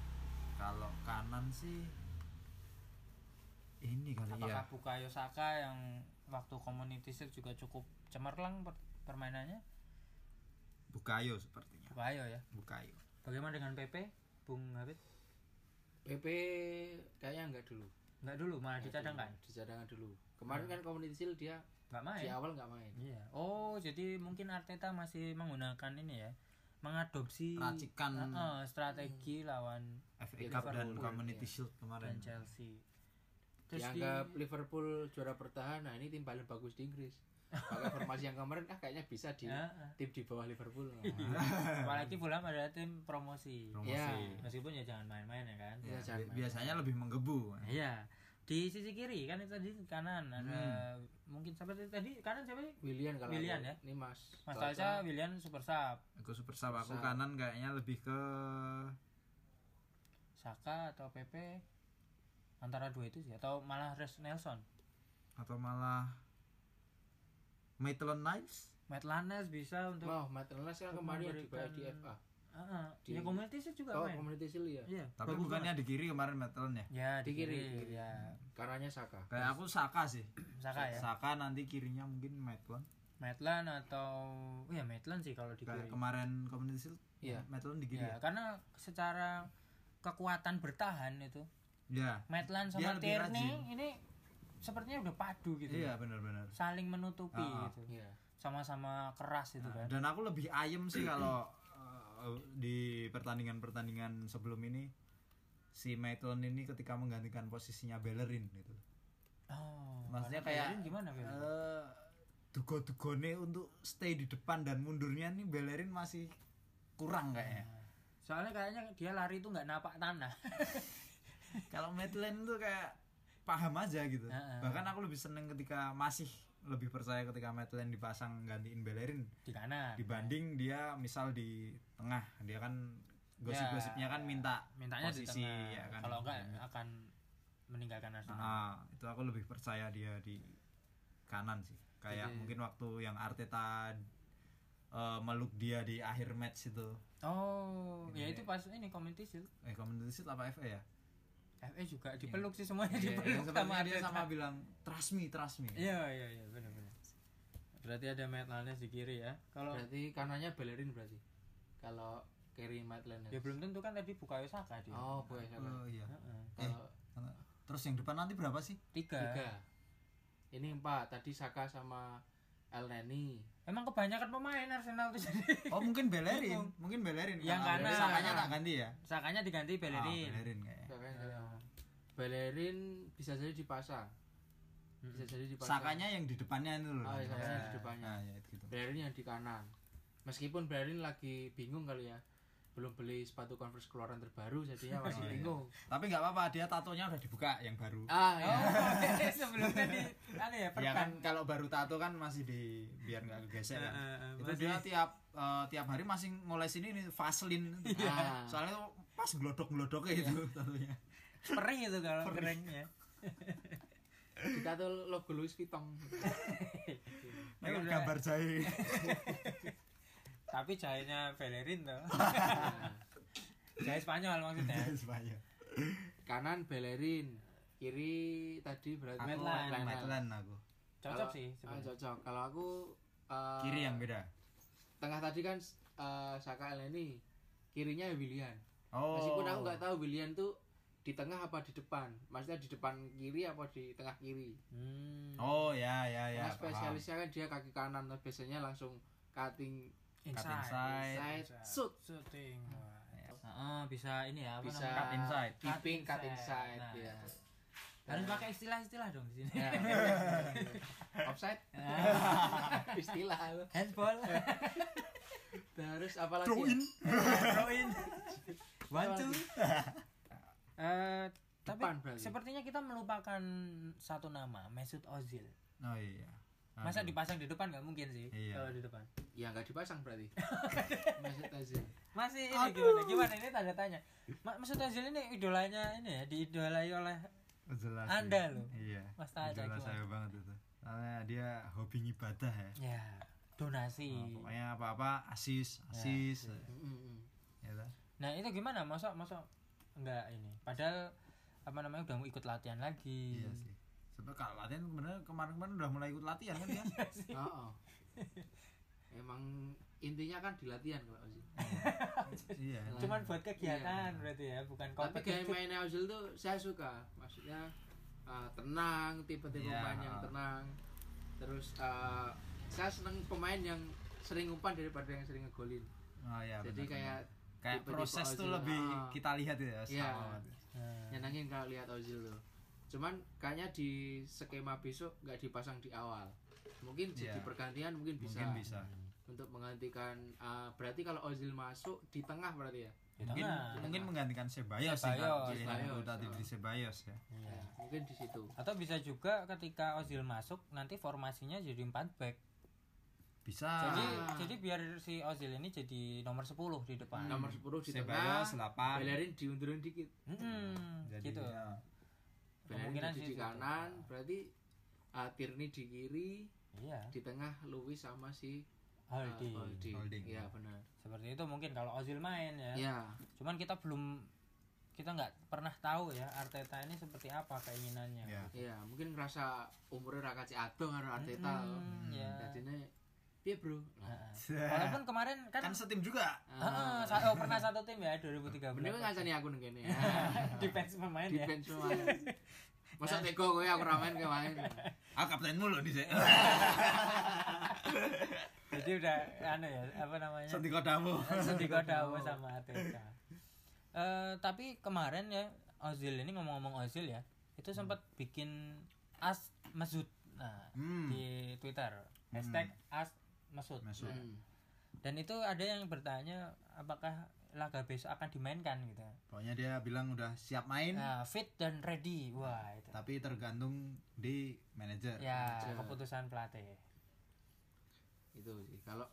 S3: Kalau kanan sih ini kali ya.
S2: Apakah Bukayo Saka yang waktu community shield juga cukup cemerlang per- permainannya?
S3: Bukayo sepertinya.
S2: Bukayo ya.
S3: Bukayo.
S2: Bagaimana dengan PP? Bung Habib?
S4: PP kayaknya enggak dulu.
S2: Enggak dulu, malah dicadangkan.
S4: Dicadangkan dulu. Kemarin kan community shield dia
S2: Enggak main.
S4: di awal enggak main.
S2: Iya. Oh, jadi mungkin Arteta masih menggunakan ini ya. Mengadopsi
S3: Racikan
S2: Heeh, strategi lawan
S3: FA Cup dan
S2: Iya, Liverpool, ya.
S3: Community Shield
S2: dan
S3: kemarin.
S2: Chelsea. Terus
S4: Hmm. Dianggap Liverpool juara bertahan. Nah, ini tim paling bagus di Inggris. Pakai formasi yang kemarin ah kayaknya bisa
S2: di
S4: di
S2: Heeh.
S4: tim di bawah Liverpool.
S2: Iya,
S4: Ah.
S2: apalagi Fulham adalah tim promosi.
S3: Promosi.
S4: Ya.
S2: Meskipun ya jangan main-main ya kan.
S3: Ya,
S4: Biasanya.
S3: bi- biasanya lebih menggebu.
S2: Iya. Di sisi kiri kan itu tadi kanan ada
S4: Hmm.
S2: mungkin seperti tadi kanan siapa sih?
S4: William kalau
S2: Willian
S4: aku.
S2: ya?
S4: Ini Mas.
S2: Mas
S4: Salsa.
S2: Talca, William super sub,
S3: Aku super sub aku
S4: Sub.
S3: kanan kayaknya lebih ke
S2: Saka atau PP antara dua itu sih atau malah Res Nelson.
S3: atau malah Maitland Niles.
S2: Matt Lanes bisa untuk
S4: Wah, Maternas kan kemarin
S2: memberikan-
S4: dibayar di FA.
S2: Heeh.
S4: Di-
S2: ya community sih juga
S4: Oh,
S2: main.
S4: community shield ya.
S2: Iya.
S3: Tapi
S2: bagus
S3: bukannya di kiri kemarin Maitland ya?
S2: banget. ya di
S4: Di kiri,
S2: kiri,
S4: di kiri.
S2: ya.
S4: Kanannya Saka.
S3: Kayak aku Saka sih.
S2: Saka ya.
S3: Saka nanti kirinya mungkin Maitland.
S2: Maitland atau oh ya Maitland sih kalau di
S3: Kayak
S2: kiri.
S3: kemarin Community Shield
S4: Iya.
S3: Maitland di kiri
S2: Ya,
S3: ya.
S2: karena secara kekuatan bertahan itu
S3: Iya.
S2: Maitland
S3: Dia
S2: sama
S3: lebih
S2: Tierney
S3: rajin.
S2: ini sepertinya udah padu gitu.
S3: Iya benar-benar.
S2: Saling menutupi
S3: Ah, ah.
S2: gitu.
S4: Iya.
S2: sama-sama keras itu kan
S3: dan aku lebih ayem sih kalau eh, di pertandingan-pertandingan sebelum ini si Maitland ini ketika menggantikan posisinya Bellerin gitu.
S2: oh
S3: Maksudnya
S2: kalau
S3: kayak-
S2: Bellerin gimana Bel?
S3: Eh dugo-dugone untuk stay di depan dan mundurnya nih Bellerin masih kurang kayaknya.
S2: soalnya kayaknya dia lari itu nggak napak tanah
S3: Kalau Maitland tuh kayak paham aja gitu.
S2: Heeh.
S3: Bahkan aku lebih seneng ketika masih lebih percaya ketika Maitland dipasang gantiin Bellerin
S2: di kanan
S3: dibanding dia misal di tengah dia kan gosip-gosipnya kan minta
S2: mintanya di
S3: posisi
S2: tengah
S3: ya kan
S2: kalau enggak akan meninggalkan Arsenal
S3: Ah, itu aku lebih percaya dia di kanan sih kayak
S4: Jadi-
S3: mungkin waktu yang Arteta eh, meluk dia di akhir match itu
S2: oh ya
S3: Ini-
S2: itu pas ini community shield
S3: eh komentarisi apa FA ya
S2: FA juga dipeluk sih semuanya
S3: Iya, yang
S2: dipeluk sama
S3: sepertinya dia
S2: Arteta.
S3: sama bilang trust me trust me
S2: iya iya iya benar benar berarti ada Maitland di kiri ya
S3: Iya.
S2: kalau
S4: Berarti kanannya Bellerin berarti. Kalau Kerry Maitland.
S2: ya belum tentu kan tadi buka Osaka dia
S4: Oh, boleh
S3: Oh,
S4: sama.
S3: iya
S2: Heeh.
S3: Eh.
S4: Kalau
S3: terus yang depan nanti berapa sih
S2: tiga.
S4: tiga. Ini empat. Tadi Saka sama El Neni.
S2: emang kebanyakan pemain Arsenal tuh jadi
S3: oh mungkin Bellerin mungkin Bellerin
S2: Yang
S3: Karena
S2: kanan.
S3: Sakanya tak ganti ya
S2: Sakanya diganti
S3: Ah,
S2: Bellerin
S3: Bellerin kayaknya
S2: Iya.
S4: Bellerin, Bellerin bisa jadi dipasang. Bisa jadi dipasang.
S3: Hmm. Sakanya yang di depannya itu loh.
S4: Oh, iya, Sakanya di
S3: Nah,
S4: depannya.
S3: Nah, ya itu gitu.
S4: Bellerin yang di kanan. Meskipun Bellerin lagi bingung kali ya. Belum beli sepatu Converse keluaran terbaru jadinya
S3: Oh,
S4: masih
S3: iya.
S4: bingung.
S3: Tapi nggak apa-apa, dia tatonya udah dibuka yang baru.
S4: Ah, iya.
S2: oh sebelumnya di ada ya
S3: Ya
S2: perban
S3: kan kalau baru tato kan masih di biar nggak
S2: Eh,
S3: kegesek.
S2: eh,
S3: kan.
S2: eh,
S3: itu
S2: masih-
S3: dia tiap eh, tiap hari masih ngoles ini nih, vaselin.
S4: Ah.
S2: Iya.
S3: Soalnya tuh pas gitu, glodok-glodoknya itu tatonya.
S2: perih itu kalau kering ya
S4: Kita tuh logo Louis Vuitton.
S3: Nah, kan
S2: udah.
S3: gambar jahe.
S2: tapi jahenya Bellerin tuh
S4: Nah,
S2: jahe Spanyol maksudnya
S3: Semuanya.
S4: kanan Bellerin, kiri tadi berarti
S3: Aku
S2: Maitland,
S3: Maitland aku.
S2: cocok
S4: Kalau-
S2: sih
S4: Ah,
S2: sebenarnya
S4: cocok. Kalau aku eh,
S3: Kiri yang beda.
S4: tengah tadi kan eh, Saka Eleni, kirinya William.
S3: Oh.
S4: Meskipun aku nggak tahu William tuh di tengah apa di depan. Maksudnya di depan kiri apa di tengah kiri.
S2: Hmm.
S3: Oh ya ya ya.
S4: Karena
S3: paham.
S4: spesialisnya kan dia kaki kanan, nah, biasanya langsung cutting
S3: Cut
S2: inside,
S3: inside.
S4: side
S2: inside.
S4: shoot.
S2: shooting Wah, itu. Heeh, bisa ini ya apa
S4: Bisa
S2: namanya?
S3: cut inside.
S4: Keeping cut inside,
S2: Nah,
S4: ya.
S2: harus pakai istilah-istilah dong di sini
S4: Ya. Nah. Offside. Istilah lu.
S2: handball
S4: Terus apalagi?
S3: Throw
S4: ya?
S3: in.
S2: throw in one two Eh, tapi
S4: Depan berarti.
S2: sepertinya kita melupakan satu nama Mesut Ozil
S3: Oh iya.
S2: masa
S3: Aduh.
S2: dipasang di depan nggak mungkin sih
S3: Iya.
S2: kalau di depan
S4: Ya nggak dipasang berarti. Maksud Azim.
S2: masih ini gimana gimana ini tanda tanya Ma- Mesut Ozil ini idolanya ini ya diidolai oleh
S3: Jelas.
S2: Anda
S3: sih.
S2: loh.
S3: Iya.
S2: Mas Taja
S3: Jelas
S2: gimana?
S3: saya banget itu. Karena dia hobi ngibadah ya.
S2: ya donasi
S3: Oh, pokoknya apa-apa asis,
S2: Iya.
S3: asis.
S4: Mm-mm.
S3: Ya, toh?
S2: nah itu gimana masa masa nggak ini padahal apa namanya udah mau ikut latihan lagi
S4: Hmm.
S3: Iya sih. Sebab kalau latihan kemarin kemarin-kemarin udah mulai ikut latihan kan dia.
S4: Oh, oh. Emang intinya kan di latihan kalau Ozil.
S3: iya.
S2: cuman buat kegiatan
S4: Iya.
S2: berarti ya bukan
S4: Tapi gaya
S2: kompetitif
S4: mainnya Ozil tuh saya suka. Maksudnya uh, tenang, tipe-tipe
S3: Iya.
S4: pemain yang tenang. Terus uh, saya seneng pemain yang sering umpan daripada yang sering ngegolin.
S3: Oh iya.
S4: Jadi
S3: benar,
S4: kayak
S3: benar. kayak
S4: tipe-tipe
S3: proses tuh
S4: Ozil.
S3: lebih
S4: Ah.
S3: kita lihat ya. sama
S4: Iya.
S3: banget.
S2: Nah.
S4: nyenengin kalau lihat Ozil tuh. Cuman kayaknya di skema besok nggak dipasang di awal. Mungkin jadi
S3: Iya.
S4: pergantian mungkin bisa. Nah.
S3: Mungkin bisa.
S4: Untuk menggantikan uh, berarti kalau Ozil masuk di tengah berarti ya.
S2: Di
S3: Mungkin
S2: tengah.
S3: mungkin menggantikan Sebayos sih
S2: Ceballos.
S3: kalau pilihan
S4: Ceballos,
S3: aku tadi
S4: oh.
S3: di Sebayos ya.
S2: Iya.
S4: Ya, mungkin di situ.
S2: Atau bisa juga ketika Ozil masuk nanti formasinya jadi 4 back.
S3: Bisa.
S2: Jadi
S4: Ah.
S2: jadi biar si Ozil ini jadi nomor 10 di depan.
S4: Hmm. Nomor 10 di
S3: Sebayos
S4: tengah.
S3: 8.
S4: Bellerin diundurin dikit.
S2: Mm-mm,
S3: Jadi
S2: gitu.
S3: ya.
S4: Bellerin
S2: Kemungkinan
S4: jadi
S2: sih
S4: di
S2: gitu.
S4: kanan, berarti uh, Tierney di kiri,
S2: Iya.
S4: di tengah Luis sama si uh,
S2: Holdi.
S4: Holding.
S3: Holding.
S4: Iya, benar.
S2: Seperti itu mungkin kalau Ozil main ya.
S4: Iya.
S2: Cuman kita belum kita nggak pernah tahu ya Arteta ini seperti apa keinginannya.
S3: Ya.
S4: Iya, mungkin ngerasa umurnya ra kaci adoh karo Arteta. Hmm.
S2: Mm, ya.
S4: Dadine piye, Bro? Nah,
S2: Heeh. Walaupun kemarin kan,
S3: Kan setim juga.
S2: Heeh,
S4: uh,
S2: sa- oh, pernah satu tim ya 2013.
S4: bener kowe ngancani aku ning kene.
S2: Defense pemain
S4: Di
S2: ya. Nah.
S4: bench semua. Masa tega kowe aku ra main kowe main. Iya.
S3: Ah kaptenmu loh di sini.
S2: Jadi udah anu ya, apa namanya?
S3: Senti kodamu.
S4: Kan
S2: Setigo Dawo sama Ateta. Eh tapi kemarin ya Ozil ini ngomong-ngomong Ozil ya, itu sempat bikin as mesut nah
S3: Hmm.
S4: Iya.
S2: di Twitter hashtag as mesut.
S3: Mesut.
S2: Nah,
S4: Hmm,
S2: Dan itu ada yang bertanya apakah laga besok akan dimainkan gitu.
S3: Pokoknya dia bilang udah siap main,
S4: Iya.
S2: Nah, fit dan ready. Wah, itu.
S3: tapi tergantung di manajer.
S4: Iya.
S2: Ya, keputusan pelatih.
S4: itu sih kalau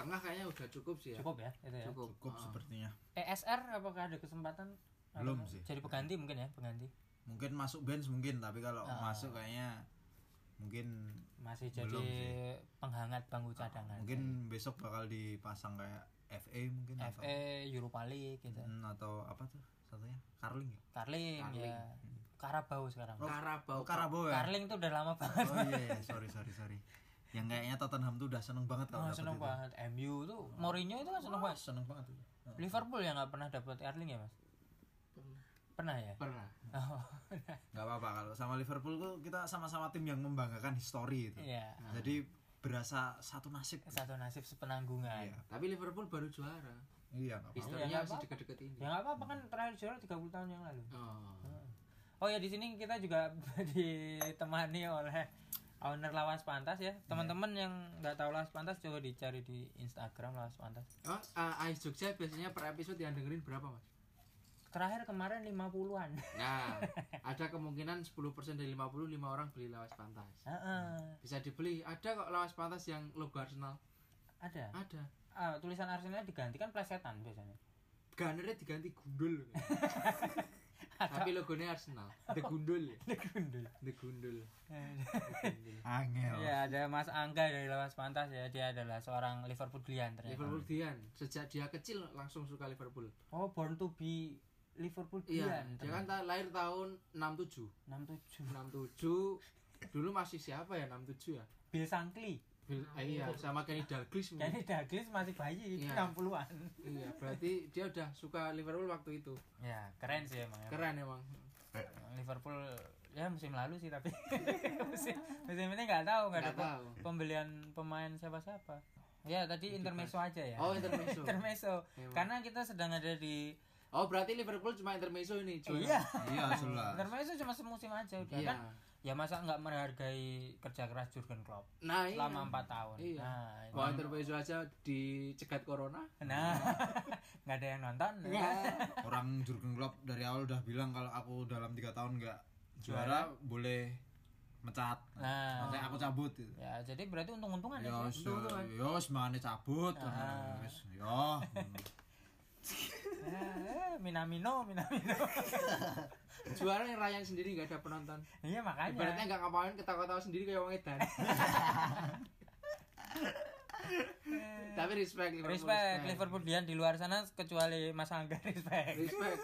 S4: tengah kayaknya udah cukup sih ya
S2: Cukup ya, itu ya.
S4: cukup,
S3: Iya. Cukup
S4: Ah.
S3: sepertinya.
S2: PSR apakah ada kesempatan
S3: Belum
S2: Atau
S3: sih.
S2: Jadi pengganti mungkin ya, pengganti.
S3: Mungkin masuk bench mungkin, tapi kalau
S2: Ah.
S3: masuk kayaknya mungkin
S2: Masih jadi
S3: Belum sih.
S2: penghangat bangku cadangan.
S3: mungkin besok bakal dipasang kayak FA mungkin atau
S2: FA Europa League gitu.
S3: Hmm, atau apa tuh satunya? Carling ya?
S2: Carling, ya. Karabau sekarang.
S4: Karabau
S3: Hmm. Oh, Karabau ya?
S2: Carling tuh udah lama banget.
S3: Oh iya, iya, sorry sorry sorry. Yang kayaknya Tottenham tuh udah seneng banget
S2: Oh,
S3: kalau dapet
S2: seneng
S3: itu. Ah,
S2: banget. MU tuh Mourinho itu kan seneng banget.
S3: Seneng banget. tuh. Nah,
S2: Liverpool yang nggak pernah dapat Erling ya, Mas?
S4: Pernah.
S2: Pernah ya?
S4: pernah
S3: Hmm.
S2: Oh,
S3: nggak apa-apa kalau sama Liverpool tuh kita sama-sama tim yang membanggakan histori itu.
S2: iya.
S3: Jadi berasa satu nasib.
S2: Satu nasib sepenanggungan.
S3: Iya.
S4: tapi Liverpool
S2: Oh,
S4: baru juara
S3: Iya, nggak apa-apa.
S4: historinya
S2: nggak
S4: masih
S2: apa-apa.
S4: deket-deket ini
S2: Ya nggak apa-apa kan terakhir juara 30 tahun yang lalu.
S4: oh.
S2: Oh ya di sini kita juga ditemani oleh owner Lawas Pantas
S3: Iya.
S2: ya. Teman-teman yang nggak tahu Lawas Pantas coba dicari di Instagram Lawas Pantas.
S4: Oh, ah, Ais Jogja biasanya per episode yang dengerin berapa mas?
S2: Terakhir kemarin 50-an.
S4: Nah, ada kemungkinan 10% dari 50, 5 orang beli lawas
S3: Hmm.
S4: pantas
S2: Heeh.
S4: Bisa dibeli, ada kok lawas pantas yang logo Arsenal
S2: Ada.
S4: Ada
S2: Ah, tulisan Arsenal digantikan plesetan biasanya.
S4: Gunnernya diganti gundul Tapi logonya Arsenal The Gundul ya? The Gundul
S3: Angel.
S2: Iya, ada Mas Angga dari Lawas Pantas ya. Dia adalah seorang Liverpoolian ternyata.
S4: Liverpool Dian Sejak dia kecil langsung suka Liverpool
S2: Oh, born to be
S4: Iya,
S2: Liverpoolian.
S4: dia kan
S2: ternyata.
S4: ta- lahir tahun 67
S2: 67.
S4: 67 Dulu masih siapa ya 67 ya?
S2: Bill Shankly.
S4: Bill, eh, iya, sama Kenny Dalglish mungkin.
S2: Jadi Douglas masih bayi
S4: Iya.
S2: 60-an.
S4: Iya, berarti dia udah suka Liverpool waktu itu.
S2: Ya, keren sih emang. ya.
S4: Keren emang.
S2: Liverpool ya musim lalu sih tapi musim musim ini nggak tahu nggak ada
S4: Nggak tahu.
S2: pembelian pemain siapa siapa ya tadi intermezzo Iya. aja ya
S4: Oh, intermezzo.
S2: intermezzo Kan?
S4: Memang.
S2: karena kita sedang ada di
S4: Oh, berarti Liverpool cuma intermezzo ini, cuy.
S2: iya
S3: Iya, sudah.
S2: intermezzo cuma semusim aja udah
S4: Iya.
S2: kan ya masa nggak menghargai kerja keras Jurgen Klopp
S4: Nah, iya.
S2: selama empat tahun
S4: Iya.
S2: nah ini-
S4: Wah, intermezzo aja dicegat corona.
S2: nah nggak ada yang nonton
S4: Iya.
S3: Orang Jurgen Klopp dari awal udah bilang kalau aku dalam tiga tahun nggak juara boleh mecat.
S2: Nah.
S3: Maksudnya aku cabut gitu.
S2: ya jadi berarti untung-untungan
S4: Iya.
S2: ya
S3: Yos,
S4: untung-untungan.
S3: yos, mana cabut. Nah, Yos, yo. Hmm.
S2: Ya, ya, minamino minamino
S4: Juara yang Ryan sendiri nggak ada penonton.
S2: iya makanya
S4: Ibaratnya kan nggak ngapain ketawa-tawa sendiri kayak wong edan. Tapi respect
S2: Eh,
S4: Liverpool.
S2: Respect, Liverpoolian di luar sana kecuali Mas Angga respect.
S4: Respect.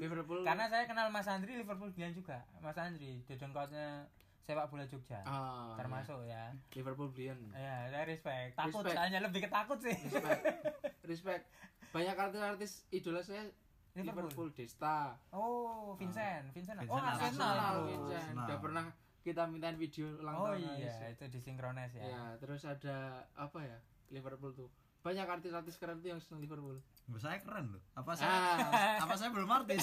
S4: Liverpool.
S2: Karena saya kenal Mas Andri Liverpoolian juga. Mas Andri dedengkotnya sepak bola Jogja.
S4: Ah,
S2: termasuk ya.
S4: iya. Liverpool Brilliant.
S2: Ya, saya respect. Takut
S4: Respect.
S2: soalnya lebih ketakut sih.
S4: respect respect banyak artis-artis idola saya
S2: Liverpool.
S4: Liverpool, Desta
S2: Oh, Vincent, Vincent.
S3: Vincent
S2: Oh, iya.
S3: Arsenal.
S2: Arsenal.
S4: Arsenal Vincent
S3: Arsenal.
S4: udah pernah kita mintain video ulang
S2: Oh
S4: tahun
S2: iya, itu disinkronis
S4: ya.
S2: ya.
S4: terus ada apa ya Liverpool tuh banyak artis-artis keren tuh yang seneng Liverpool
S3: Menurut saya keren loh. Apa saya
S4: ah
S3: apa saya belum artis?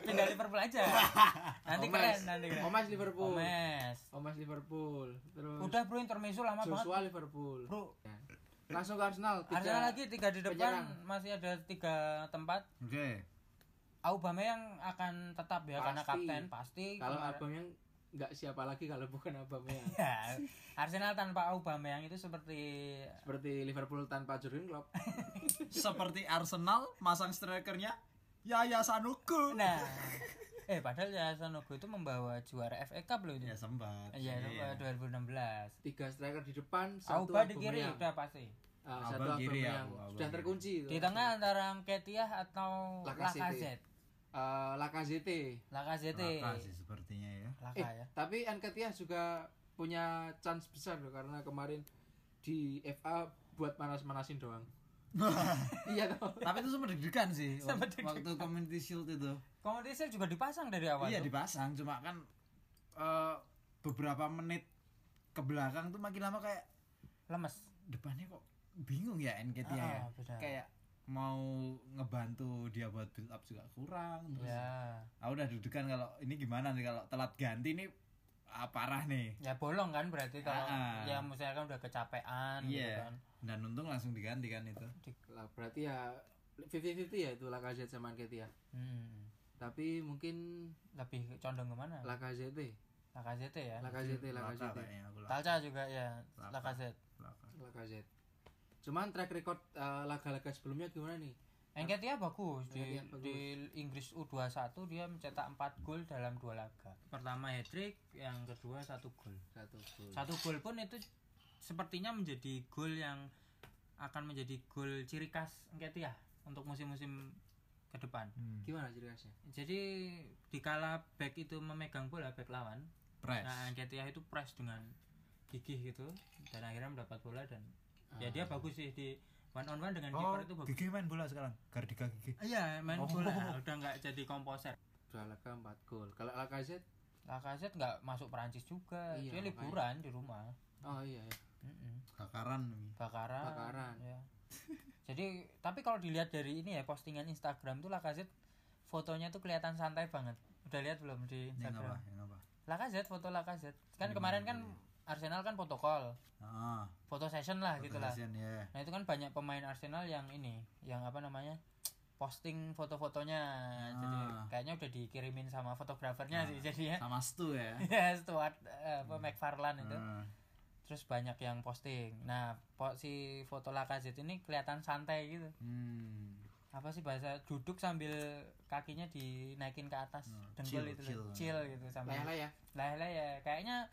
S2: Pindah Liverpool aja. Nanti
S4: Omes.
S2: keren, nanti keren.
S4: Omas Liverpool
S2: Omes.
S4: Omas Liverpool terus
S2: Udah bro intermezzo lama banget.
S4: Joshua Liverpool
S2: Bro,
S4: Ya. langsung ke Arsenal tiga
S2: Arsenal lagi tiga di depan,
S4: penyerang.
S2: masih ada tiga tempat.
S3: Oke.
S2: Aubameyang akan tetap ya karena
S4: Pasti.
S2: kapten pasti.
S4: kalau
S2: Kemarin-
S4: abang yang nggak siapa lagi kalau bukan abangnya
S2: Ya, Arsenal tanpa Aubameyang itu seperti
S4: seperti Liverpool tanpa Jurgen Klopp
S3: Seperti Arsenal masang strikernya Yaya Sanuku.
S2: nah eh padahal ya Sanogo itu membawa juara FA Cup loh
S3: Ya
S2: itu.
S3: sempat.
S2: Iya,
S3: Iya.
S2: itu 2016.
S4: tiga striker di depan satu
S2: Auba di kiri
S4: Aubameyang.
S2: udah pasti.
S4: Ah,
S3: Abang
S4: satu
S3: kiri
S4: Aubameyang
S3: aku, abang
S4: sudah
S3: kiri.
S4: terkunci itu.
S2: Di tengah antara Nketiah atau
S4: Lacazette.
S2: Lacazette.
S4: Eh, Lacazette.
S2: Lacazette.
S3: Rata sih sepertinya ya.
S2: Laka
S4: Eh,
S2: ya.
S4: tapi Nketiah juga punya chance besar loh karena kemarin di FA buat manas-manasin doang. iya toh.
S3: Tapi itu sempat deg-degan sih waktu, waktu Community Shield itu.
S2: Komodisi juga dipasang dari awal.
S3: Iya
S2: tuh.
S3: dipasang, cuma kan eh, beberapa menit ke belakang tuh makin lama kayak
S2: lemes
S3: depannya kok bingung ya NKT ya.
S2: Ah, benar.
S3: Kayak mau ngebantu dia buat build up juga kurang terus
S2: ya
S3: aku udah dudukan kalau ini gimana nih kalau telat ganti nih ah, parah nih
S2: ya bolong kan berarti kalau
S3: Ah.
S2: ya misalkan udah kecapean gitu
S3: iya
S2: kan
S3: dan untung langsung diganti kan itu
S4: lah berarti ya 50-50 ya itu Lacazette sama Nketiah
S2: hmm. tapi
S4: tapi mungkin
S2: lebih condong kemana
S4: Lacazette
S2: Ah. Lacazette ya
S4: Lacazette
S3: Laka
S4: Lacazette
S3: kayaknya aku laka,
S2: Talca juga ya
S3: Laka.
S2: Lacazette
S3: laka.
S4: Lacazette cuman track record eh, laga-laga sebelumnya gimana nih
S2: Enketia bagus di,
S4: Nketiah bagus.
S2: di Inggris U21 dia mencetak 4 gol dalam dua laga. Pertama hat trick, yang kedua satu gol.
S4: satu gol
S2: Satu gol pun itu sepertinya menjadi gol yang akan menjadi gol ciri khas Enketia ya, untuk musim-musim ke depan.
S3: Hmm.
S4: gimana ciri khasnya
S2: Jadi dikala back itu memegang bola back lawan,
S3: press
S2: nah Enketia itu press dengan gigih gitu dan akhirnya mendapat bola dan ya
S4: Ah.
S2: dia bagus sih di one on one dengan
S3: oh
S2: kiper itu bagus.
S3: gigi main bola sekarang Gardika gigi
S2: Iya, main bola udah nggak jadi komposer.
S4: dua laga empat gol kalau Lacazette
S2: Lacazette nggak masuk Perancis juga, dia
S4: Iya, makanya.
S2: liburan di rumah.
S4: oh iya ya.
S2: Mm-mm.
S3: kakaran
S2: Bakaran.
S4: Bakaran.
S2: ya. Jadi tapi kalau dilihat dari ini ya postingan Instagram tuh Lacazette fotonya tuh kelihatan santai banget. Udah lihat belum di
S3: yang
S2: Instagram?
S3: apa yang apa
S2: Lacazette foto Lacazette. Kan
S3: Ini
S2: kemarin
S3: mana
S2: kan
S3: dulu
S2: Arsenal kan protokol,
S3: ah
S2: foto session lah Nah, gitu lah.
S3: Kardashian, ya
S2: Nah itu kan banyak pemain Arsenal yang ini, yang apa namanya posting foto-fotonya. Jadi
S3: Ah. Nah.
S2: kayaknya udah dikirimin sama fotografernya sih jadinya.
S3: sama Hmm. Stu ya
S2: Ya Stuart eh, apa McFarlane itu.
S3: Ah,
S2: Terus banyak yang posting. Nah, po si foto Lacazette ini kelihatan santai gitu.
S3: hmm.
S2: Apa sih bahasa duduk sambil kakinya dinaikin ke atas,
S3: Hmm,
S2: dengkul
S3: chill,
S2: itu loh.
S3: chill.
S2: chill gitu sambil.
S4: Lelah ya
S2: Lah lah ya, kayaknya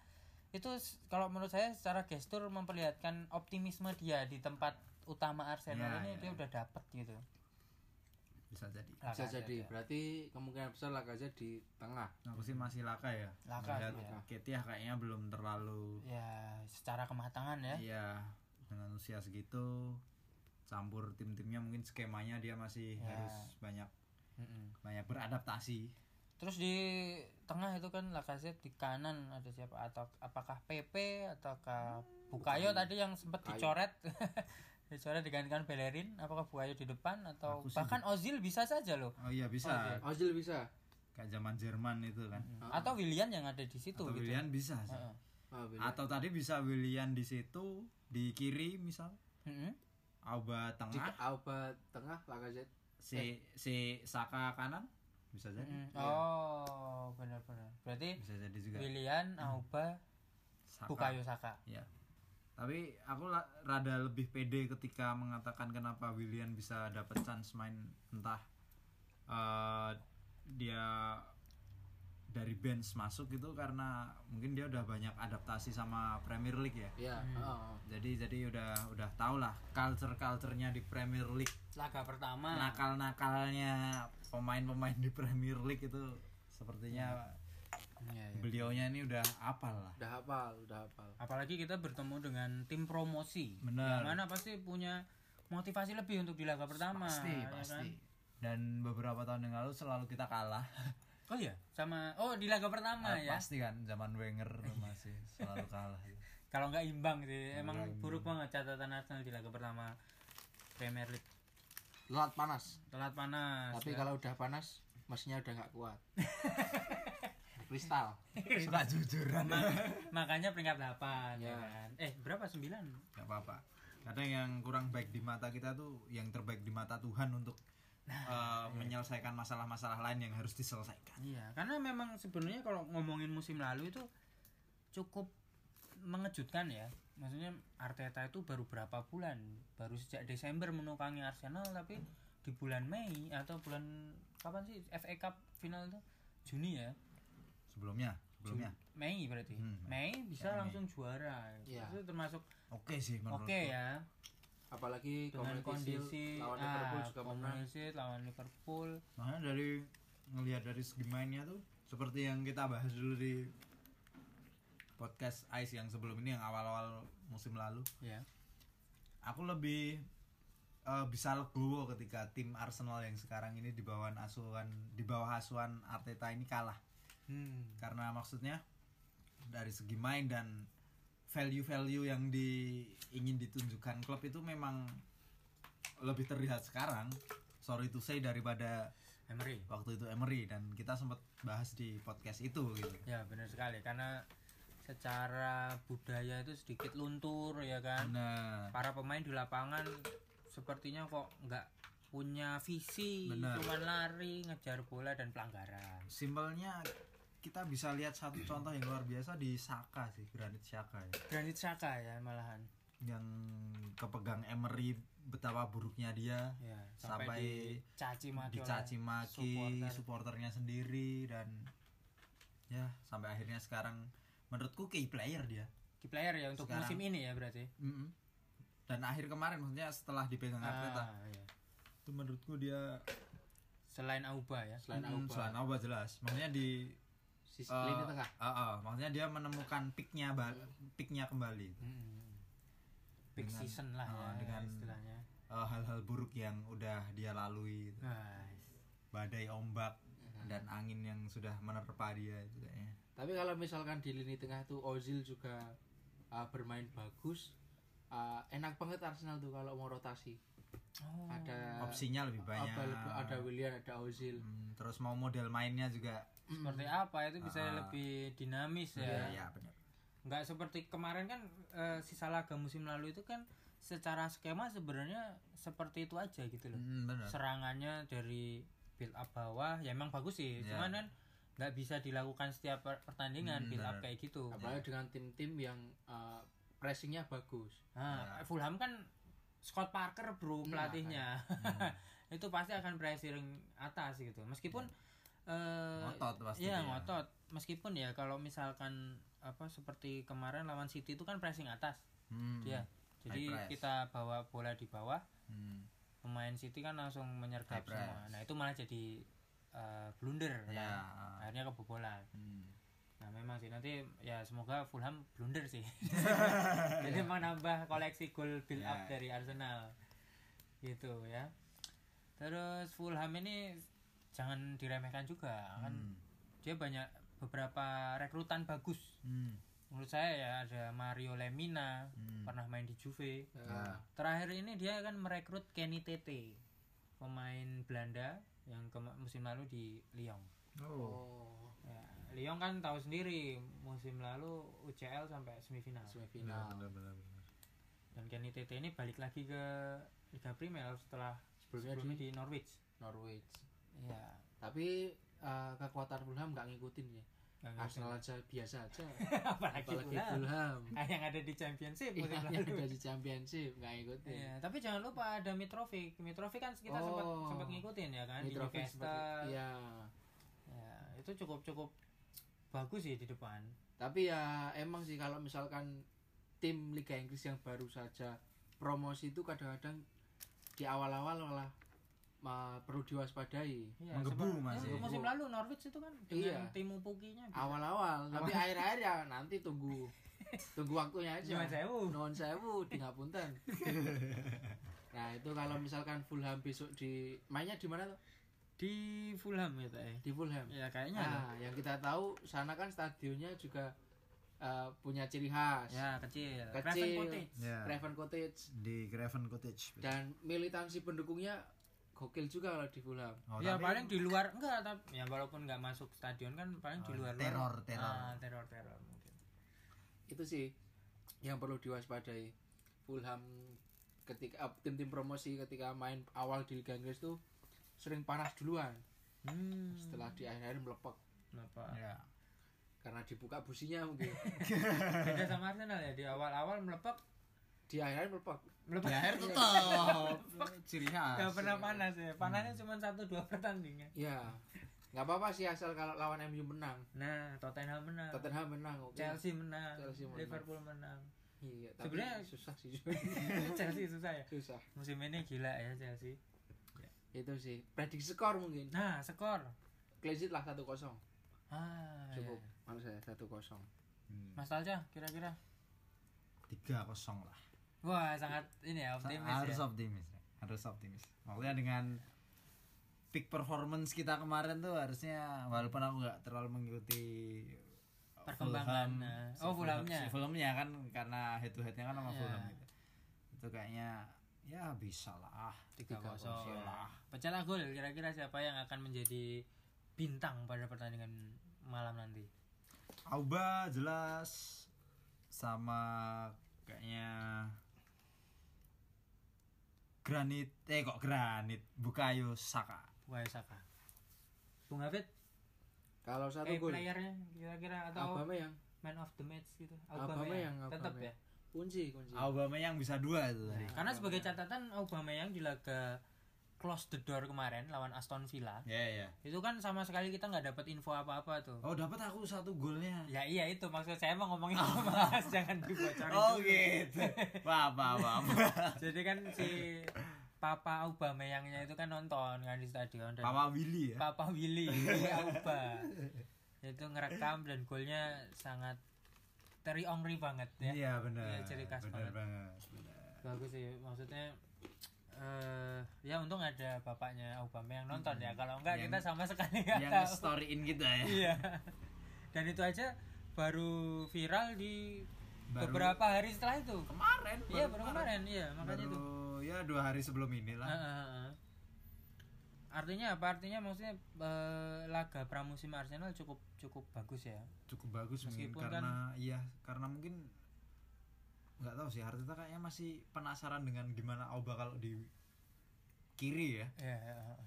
S2: itu s- kalau menurut saya secara gestur memperlihatkan optimisme dia di tempat utama Arsenal
S3: Ya,
S2: ini
S3: ya.
S2: dia udah dapet gitu.
S3: bisa jadi
S4: bisa
S2: Lacazette
S4: jadi
S2: ya.
S4: berarti kemungkinan besar Lacazette di tengah
S3: aku sih masih laka ya
S2: Laka
S3: Melihat
S2: sih ya.
S3: Ketiah kayaknya belum terlalu
S2: Ya, secara kematangan ya.
S3: Iya, dengan usia segitu campur tim-timnya mungkin skemanya dia masih
S2: Ya.
S3: harus banyak
S2: Mm-mm.
S3: banyak beradaptasi.
S2: Terus di tengah itu kan Lacazette di kanan ada siapa atau apakah PP ataukah Bukayo tadi yang sempat
S4: Bukayo.
S2: dicoret dicoret digantikan Bellerin apakah Bukayo di depan atau
S3: Aku sih
S2: bahkan Ozil bisa saja loloh
S3: Oh iya bisa.
S2: Oh, iya.
S4: Ozil bisa
S3: Kayak zaman Jerman itu kan.
S2: atau Willian yang ada di situ
S3: Atau
S2: gitu.
S3: Willian bisa sih.
S2: Heeh.
S4: Oh, bener.
S3: Atau tadi bisa Willian di situ di kiri misal
S2: Mm-mm.
S3: Auba
S4: di
S3: tengah,
S4: Alba tengah Lacazette
S3: si si Saka kanan bisa jadi.
S2: Mm-mm. hmm, Oh, benar-benar. Berarti
S3: Bisa jadi Iya. juga. Hmm.
S2: Willian, Auba,
S3: Saka.
S2: Bukayo Saka.
S3: Ya. Tapi aku la- rada lebih pede ketika mengatakan kenapa Willian bisa dapat chance main entah eh, dia dari bench masuk gitu karena mungkin dia udah banyak adaptasi sama Premier League ya.
S4: ya oh, oh.
S3: Jadi jadi udah udah tau lah culture culturenya di Premier League,
S2: Laga pertama.
S3: nakal nakalnya pemain-pemain di Premier League itu sepertinya
S2: Iya, iya.
S3: beliaunya ini udah apal lah.
S4: udah hafal udah hafal
S2: Apalagi kita bertemu dengan tim promosi.
S3: Benar.
S2: Yang mana pasti punya motivasi lebih untuk di laga pertama.
S3: pasti
S2: ya
S3: pasti dan beberapa tahun yang lalu selalu kita kalah
S2: kan? Oh iya, sama oh di laga pertama
S3: Ah,
S2: ya.
S3: pasti kan zaman Wenger masih selalu kalah
S2: Kalau nggak imbang sih, emang
S3: nggak imbang.
S2: buruk banget catatan Arsenal di laga pertama Premier League.
S4: Telat panas
S2: Telat panas.
S4: tapi
S2: ya.
S4: kalau udah panas mesinnya udah nggak kuat kristal
S3: suka jujuran
S2: Nah. makanya peringkat 8 ya
S4: Ya.
S2: kan. Eh, berapa? 9.
S3: nggak apa-apa kadang yang kurang baik di mata kita tuh yang terbaik di mata Tuhan untuk
S2: Nah,
S3: eh, menyelesaikan masalah-masalah lain yang harus diselesaikan
S2: Iya, karena memang sebenarnya kalau ngomongin musim lalu itu cukup mengejutkan ya. Maksudnya Arteta itu baru berapa bulan? Baru sejak Desember menukangi Arsenal tapi di bulan Mei atau bulan kapan sih FA Cup final itu? Juni ya.
S3: sebelumnya sebelumnya
S2: Mei berarti.
S3: Hmm,
S2: Mei bisa
S3: Mei.
S2: langsung juara.
S4: Iya.
S2: Itu termasuk
S3: oke sih
S2: oke
S3: menurutku
S2: ya
S4: apalagi
S2: dengan kondisi
S4: kondisi
S2: ah,
S4: lawan Liverpool juga menang
S2: Community lawan Liverpool.
S3: makanya dari ngelihat dari segi mainnya tuh seperti yang kita bahas dulu di podcast Ice yang sebelum ini yang awal-awal musim lalu
S2: Ya.
S3: aku lebih eh, bisa legowo ketika tim Arsenal yang sekarang ini di bawah asuhan di bawah asuhan Arteta ini kalah
S2: Hmm.
S3: karena maksudnya dari segi main dan value-value yang di ingin ditunjukkan klub itu memang lebih terlihat sekarang sorry to say daripada
S2: Emery
S3: waktu itu Emery dan kita sempat bahas di podcast itu gitu
S2: ya benar sekali karena secara budaya itu sedikit luntur ya kan
S3: nah
S2: para pemain di lapangan sepertinya kok nggak punya visi
S3: Benar.
S2: cuman lari ngejar bola dan pelanggaran
S3: simpelnya kita bisa lihat satu contoh yang luar biasa di Saka sih Granit Saka ya.
S2: Granit Saka ya malahan
S3: yang kepegang Emery betapa buruknya dia
S2: ya
S3: sampai,
S2: dicaci maki oleh
S3: dicaci maki
S2: supporter.
S3: supporternya sendiri dan ya sampai akhirnya sekarang menurutku key player dia
S2: key player ya untuk
S3: Sekarang.
S2: musim ini ya berarti
S3: Mm-mm. dan akhir kemarin maksudnya setelah dipegang Arteta
S2: Ah, ya.
S3: itu menurutku dia
S2: selain Auba ya
S4: Selain
S3: Mm,
S4: Auba.
S3: selain Auba jelas maksudnya di
S4: Sisi
S3: eh,
S4: lini tengah.
S3: ah, ah, maksudnya dia menemukan peaknya
S4: Iya.
S3: bal- peaknya kembali
S2: big
S3: Dengan-
S2: season lah
S4: oh,
S3: ah,
S2: ya,
S3: dengan-
S2: istilahnya
S3: Eh, hal-hal buruk yang udah dia lalui gitu.
S2: nah,
S3: badai ombak
S4: Iya.
S3: dan angin yang sudah menerpa dia itu kayaknya
S4: Tapi kalau misalkan di lini tengah tuh Ozil juga uh, bermain bagus. Uh, enak banget Arsenal tuh kalau mau rotasi.
S2: oh.
S4: Ada
S3: Ah, opsinya lebih banyak
S4: Ada, ada Willian, ada Ozil.
S3: Hmm, terus mau model mainnya juga
S2: seperti
S4: Hmm.
S2: apa itu bisa
S3: Ah.
S2: lebih dinamis ya
S4: Iya,
S3: ya, ya benar
S2: nggak seperti kemarin kan eh, sisa laga musim lalu itu kan secara skema sebenarnya seperti itu aja gitu loh
S3: Hmm, benar
S2: serangannya dari build up bawah ya emang bagus sih
S3: Ya.
S2: cuman kan nggak bisa dilakukan setiap per- pertandingan
S3: Hmm,
S2: build up
S3: benar.
S2: kayak gitu
S4: Apalagi dengan tim-tim yang uh, pressingnya bagus.
S2: nah,
S3: Ya.
S2: Fulham kan Scott Parker bro
S4: Hmm,
S2: pelatihnya itu pasti akan pressing atas gitu meskipun eh,
S3: Ya. ngotot pasti
S2: Iya
S3: dia.
S2: ngotot. Meskipun ya kalau misalkan apa seperti kemarin lawan City itu kan pressing atas
S3: Hmm,
S2: dia. Jadi
S3: press.
S2: kita bawa bola di bawah,
S3: hmm.
S2: pemain City kan langsung menyergap
S3: High press.
S2: semua. Nah, itu malah jadi eh, blunder kan.
S3: ya
S2: Akhirnya kebobolan.
S3: hmm.
S2: Nah, memang sih nanti ya semoga Fulham blunder sih. Jadi menambah koleksi gol build up
S3: Ya.
S2: dari Arsenal. Gitu ya. Terus Fulham ini jangan diremehkan juga kan
S3: Hmm.
S2: dia banyak beberapa rekrutan bagus
S3: Hmm.
S2: menurut saya ya ada Mario Lemina
S3: Hmm. Ah.
S2: pernah main di Juve
S4: Uh,
S2: terakhir ini dia akan merekrut Kenny Tete pemain Belanda yang kema- musim lalu di Lyon
S3: oh
S4: oh,
S2: ya, Lyon kan tahu sendiri musim lalu UCL sampai semifinal iya.
S4: semifinal.
S2: dan Kenny Tete ini balik lagi ke Liga Primer setelah
S4: Sebelumnya
S2: sebelumnya
S4: di Iya.
S2: di Norwich
S4: Norwich.
S2: ya
S4: Tapi uh, kekuatan Fulham nggak ngikutin ya.
S2: nggak ngerti.
S4: Arsenal aja biasa aja.
S2: apalagi
S4: Apalagi
S2: Fulham.
S4: Fulham.
S2: Ah, yang ada di Championship musim
S4: Iya,
S2: lalu
S4: yang ada di championship nggak ngikutin.
S2: Iya, tapi jangan lupa ada Mitrovic. Mitrovic kan kita sempat
S4: Oh.
S2: sempat ngikutin ya kan
S4: Mitrovic
S2: di Newcastle.
S4: seperti-
S2: Ya.
S4: Iya.
S2: itu cukup cukup bagus sih di depan.
S4: Tapi ya emang sih kalau misalkan tim Liga Inggris yang baru saja promosi itu kadang-kadang di awal-awal malah ma- perlu diwaspadai.
S2: Iya,
S3: Menggebu
S2: seperti-
S3: masih.
S2: ya, musim lalu Norwich itu kan
S4: Iya.
S2: dengan tim Pukinya.
S4: Awal-awal, tapi akhir-akhir ya nanti tunggu tunggu waktunya aja.
S2: Cuma sewu.
S4: Nuhun sewu di ngapunten. nah, itu kalau misalkan Fulham besok di mainnya di mana tuh?
S2: Di Fulham ya Teh.
S4: Di Fulham.
S2: Ya kayaknya. loh.
S4: Nah, yang kita tahu sana kan stadionnya juga eh, punya ciri khas.
S2: Ya kecil.
S4: Kecil.
S2: Craven Cottage.
S3: ya
S4: Craven Cottage
S3: di Craven Cottage
S2: Iya,
S4: dan militansi pendukungnya gokil juga kalau di Fulham.
S3: oh,
S2: ya
S3: tapi
S2: paling di luar enggak tapi ya walaupun enggak masuk stadion kan paling di
S3: Oh,
S2: luar
S3: teror, teror.
S2: Ah, teror teror mungkin.
S4: Itu sih yang perlu diwaspadai. Fulham ketika eh, tim-tim promosi ketika main awal di Liga Inggris tuh sering panas duluan
S2: Hmm.
S4: setelah di akhir-akhir melepek
S2: Kenapa?
S3: ya
S4: karena dibuka businya mungkin
S2: Beda sama Arsenal ya di awal-awal melepek
S4: di akhir-akhir melepek
S2: melepek
S3: di akhir tutup ciri
S2: Gak
S3: khas
S2: pernah panas ya. Panasnya
S4: Hmm.
S2: cuma satu dua pertandingan.
S4: ya nggak apa-apa sih asal kalau lawan MU menang
S2: Nah, Tottenham menang.
S4: Tottenham menang oke
S2: Chelsea menang.
S4: Chelsea menang.
S2: Liverpool menang.
S4: iya tapi
S2: Sebenarnya-
S4: susah sih
S2: Chelsea susah ya.
S4: susah
S2: Musim ini gila ya Chelsea.
S4: itu sih prediksi skor mungkin
S2: Nah, skor.
S4: clean sheet lah satu kosong
S2: Ah,
S4: cukup
S2: ya.
S4: menurut saya satu kosong
S2: Mas Talca kira-kira.
S3: Hmm, tiga kosong lah
S2: Wah, sangat ini ya optimis
S3: harus
S2: ya.
S3: optimis ya. harus optimis maksudnya dengan peak performance kita kemarin tuh harusnya walaupun aku nggak terlalu mengikuti
S2: perkembangan. Nah, oh, Fulhamnya.
S3: si Fulhamnya kan karena head to headnya kan sama
S2: Ya.
S3: Fulham gitu. Itu kayaknya ya bisa lah.
S2: 3-0.
S3: 3-0 lah.
S2: Pecahlah gol kira-kira siapa yang akan menjadi bintang pada pertandingan malam nanti?
S3: Auba jelas sama kayaknya Granit eh kok Granit Bukayo Saka.
S2: Wah, Saka. Bung Hafid,
S4: Kalau satu
S2: eh,
S4: gol
S2: playernya kira-kira atau
S4: Aubameyang
S2: man of the match gitu.
S4: Aubameyang,
S2: Aubameyang, tetap ya.
S4: Aubameyang. kunci kunci.
S2: Iya.
S3: Aubameyang bisa dua itu tadi.
S2: Karena sebagai catatan Aubameyang di laga close the door kemarin lawan Aston Villa,
S3: Ya ya.
S2: itu kan sama sekali kita nggak dapat info apa-apa tuh.
S3: Oh dapat aku satu golnya.
S2: Ya iya itu maksud saya mau ngomongin itu mas jangan dibocorin.
S3: Oh
S2: dulu.
S3: gitu. Wah, apa apa apa.
S2: Jadi kan si Papa Aubameyangnya itu kan nonton kan di stadion dan
S3: Papa Willy ya.
S2: Papa Willy Willy Auba itu ngerekam dan golnya sangat Terry Ongri banget ya.
S3: Iya benar.
S2: Iya, ciri khas banget.
S3: benar banget. benar.
S2: Bagus sih maksudnya eh ya untung ada bapaknya Aubameyang nonton ya. Kalau enggak
S3: Hmm. Yang-
S2: kita sama sekali
S3: Yang
S2: nggak tahu.
S3: storyin kita ya.
S2: Iya. Dan itu aja baru viral di
S3: Baru-
S2: beberapa hari setelah itu.
S3: Kemarin.
S2: Iya, baru kemarin. Iya, makanya
S3: Baru
S2: itu.
S3: ya dua hari sebelum
S2: Ah,
S3: inilah.
S2: ah, ah. Artinya apa? Artinya maksudnya eh, laga pramusim Arsenal cukup cukup bagus ya.
S3: Cukup bagus mungkin
S2: Meskipun kan
S3: karena iya karena mungkin nggak tahu sih Arteta kayaknya masih penasaran dengan gimana Auba kalau di kiri ya.
S2: Ya, ya, ya.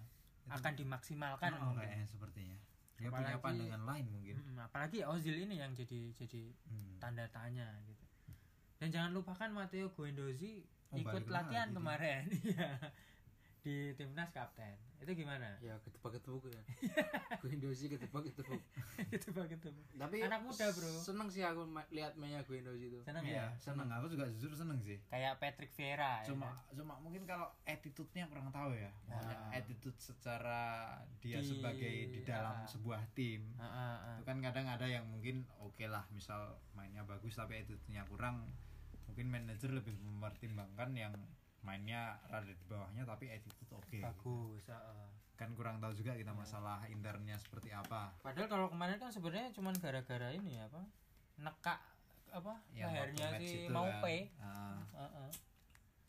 S2: akan dimaksimalkan
S3: Kan oh,
S2: mungkin.
S3: kayaknya sepertinya. Dia punya
S2: Apalagi-
S3: pandangan lain mungkin.
S2: Mm, apalagi Ozil ini yang jadi jadi
S3: Hmm.
S2: tanda tanya gitu. Dan jangan lupakan Matteo Guendouzi
S3: Oh,
S2: ikut
S3: balik
S2: latihan
S3: lagi dia.
S2: kemarin Iya. di timnas kapten. Itu gimana?
S4: Ya ketebak ketebuk ya. Guendouzi ketebak ketebuk.
S2: Itu begitu.
S4: Tapi
S2: Anak muda, bro.
S4: Seneng sih aku ma- lihat mainnya Guendouzi itu.
S2: Senang
S3: Iya,
S2: ya?
S3: seneng. Aku juga jujur seneng sih.
S2: Kayak Patrick Vieira ya.
S3: cuma cuma mungkin kalau attitude-nya kurang tahu ya Maksudnya
S2: Nah.
S3: attitude secara dia
S2: Di-
S3: sebagai di
S2: ah.
S3: dalam sebuah tim
S2: Ah, ah, ah.
S3: itu kan kadang ada yang mungkin oke lah misal mainnya bagus tapi attitude-nya kurang mungkin manajer lebih mempertimbangkan yang mainnya rada di bawahnya tapi attitude oke
S2: Bagus. Iya. ah, ah.
S3: kan kurang tahu juga kita masalah internnya seperti apa
S2: Padahal kalau kemarin kan sebenarnya cuman gara-gara ini apa? Nekak apa?
S3: Yang waktu
S2: lehernya
S3: match
S2: si
S3: itu
S2: Nah, mau
S3: kan.
S2: pay.
S3: Ah,
S2: Heeh.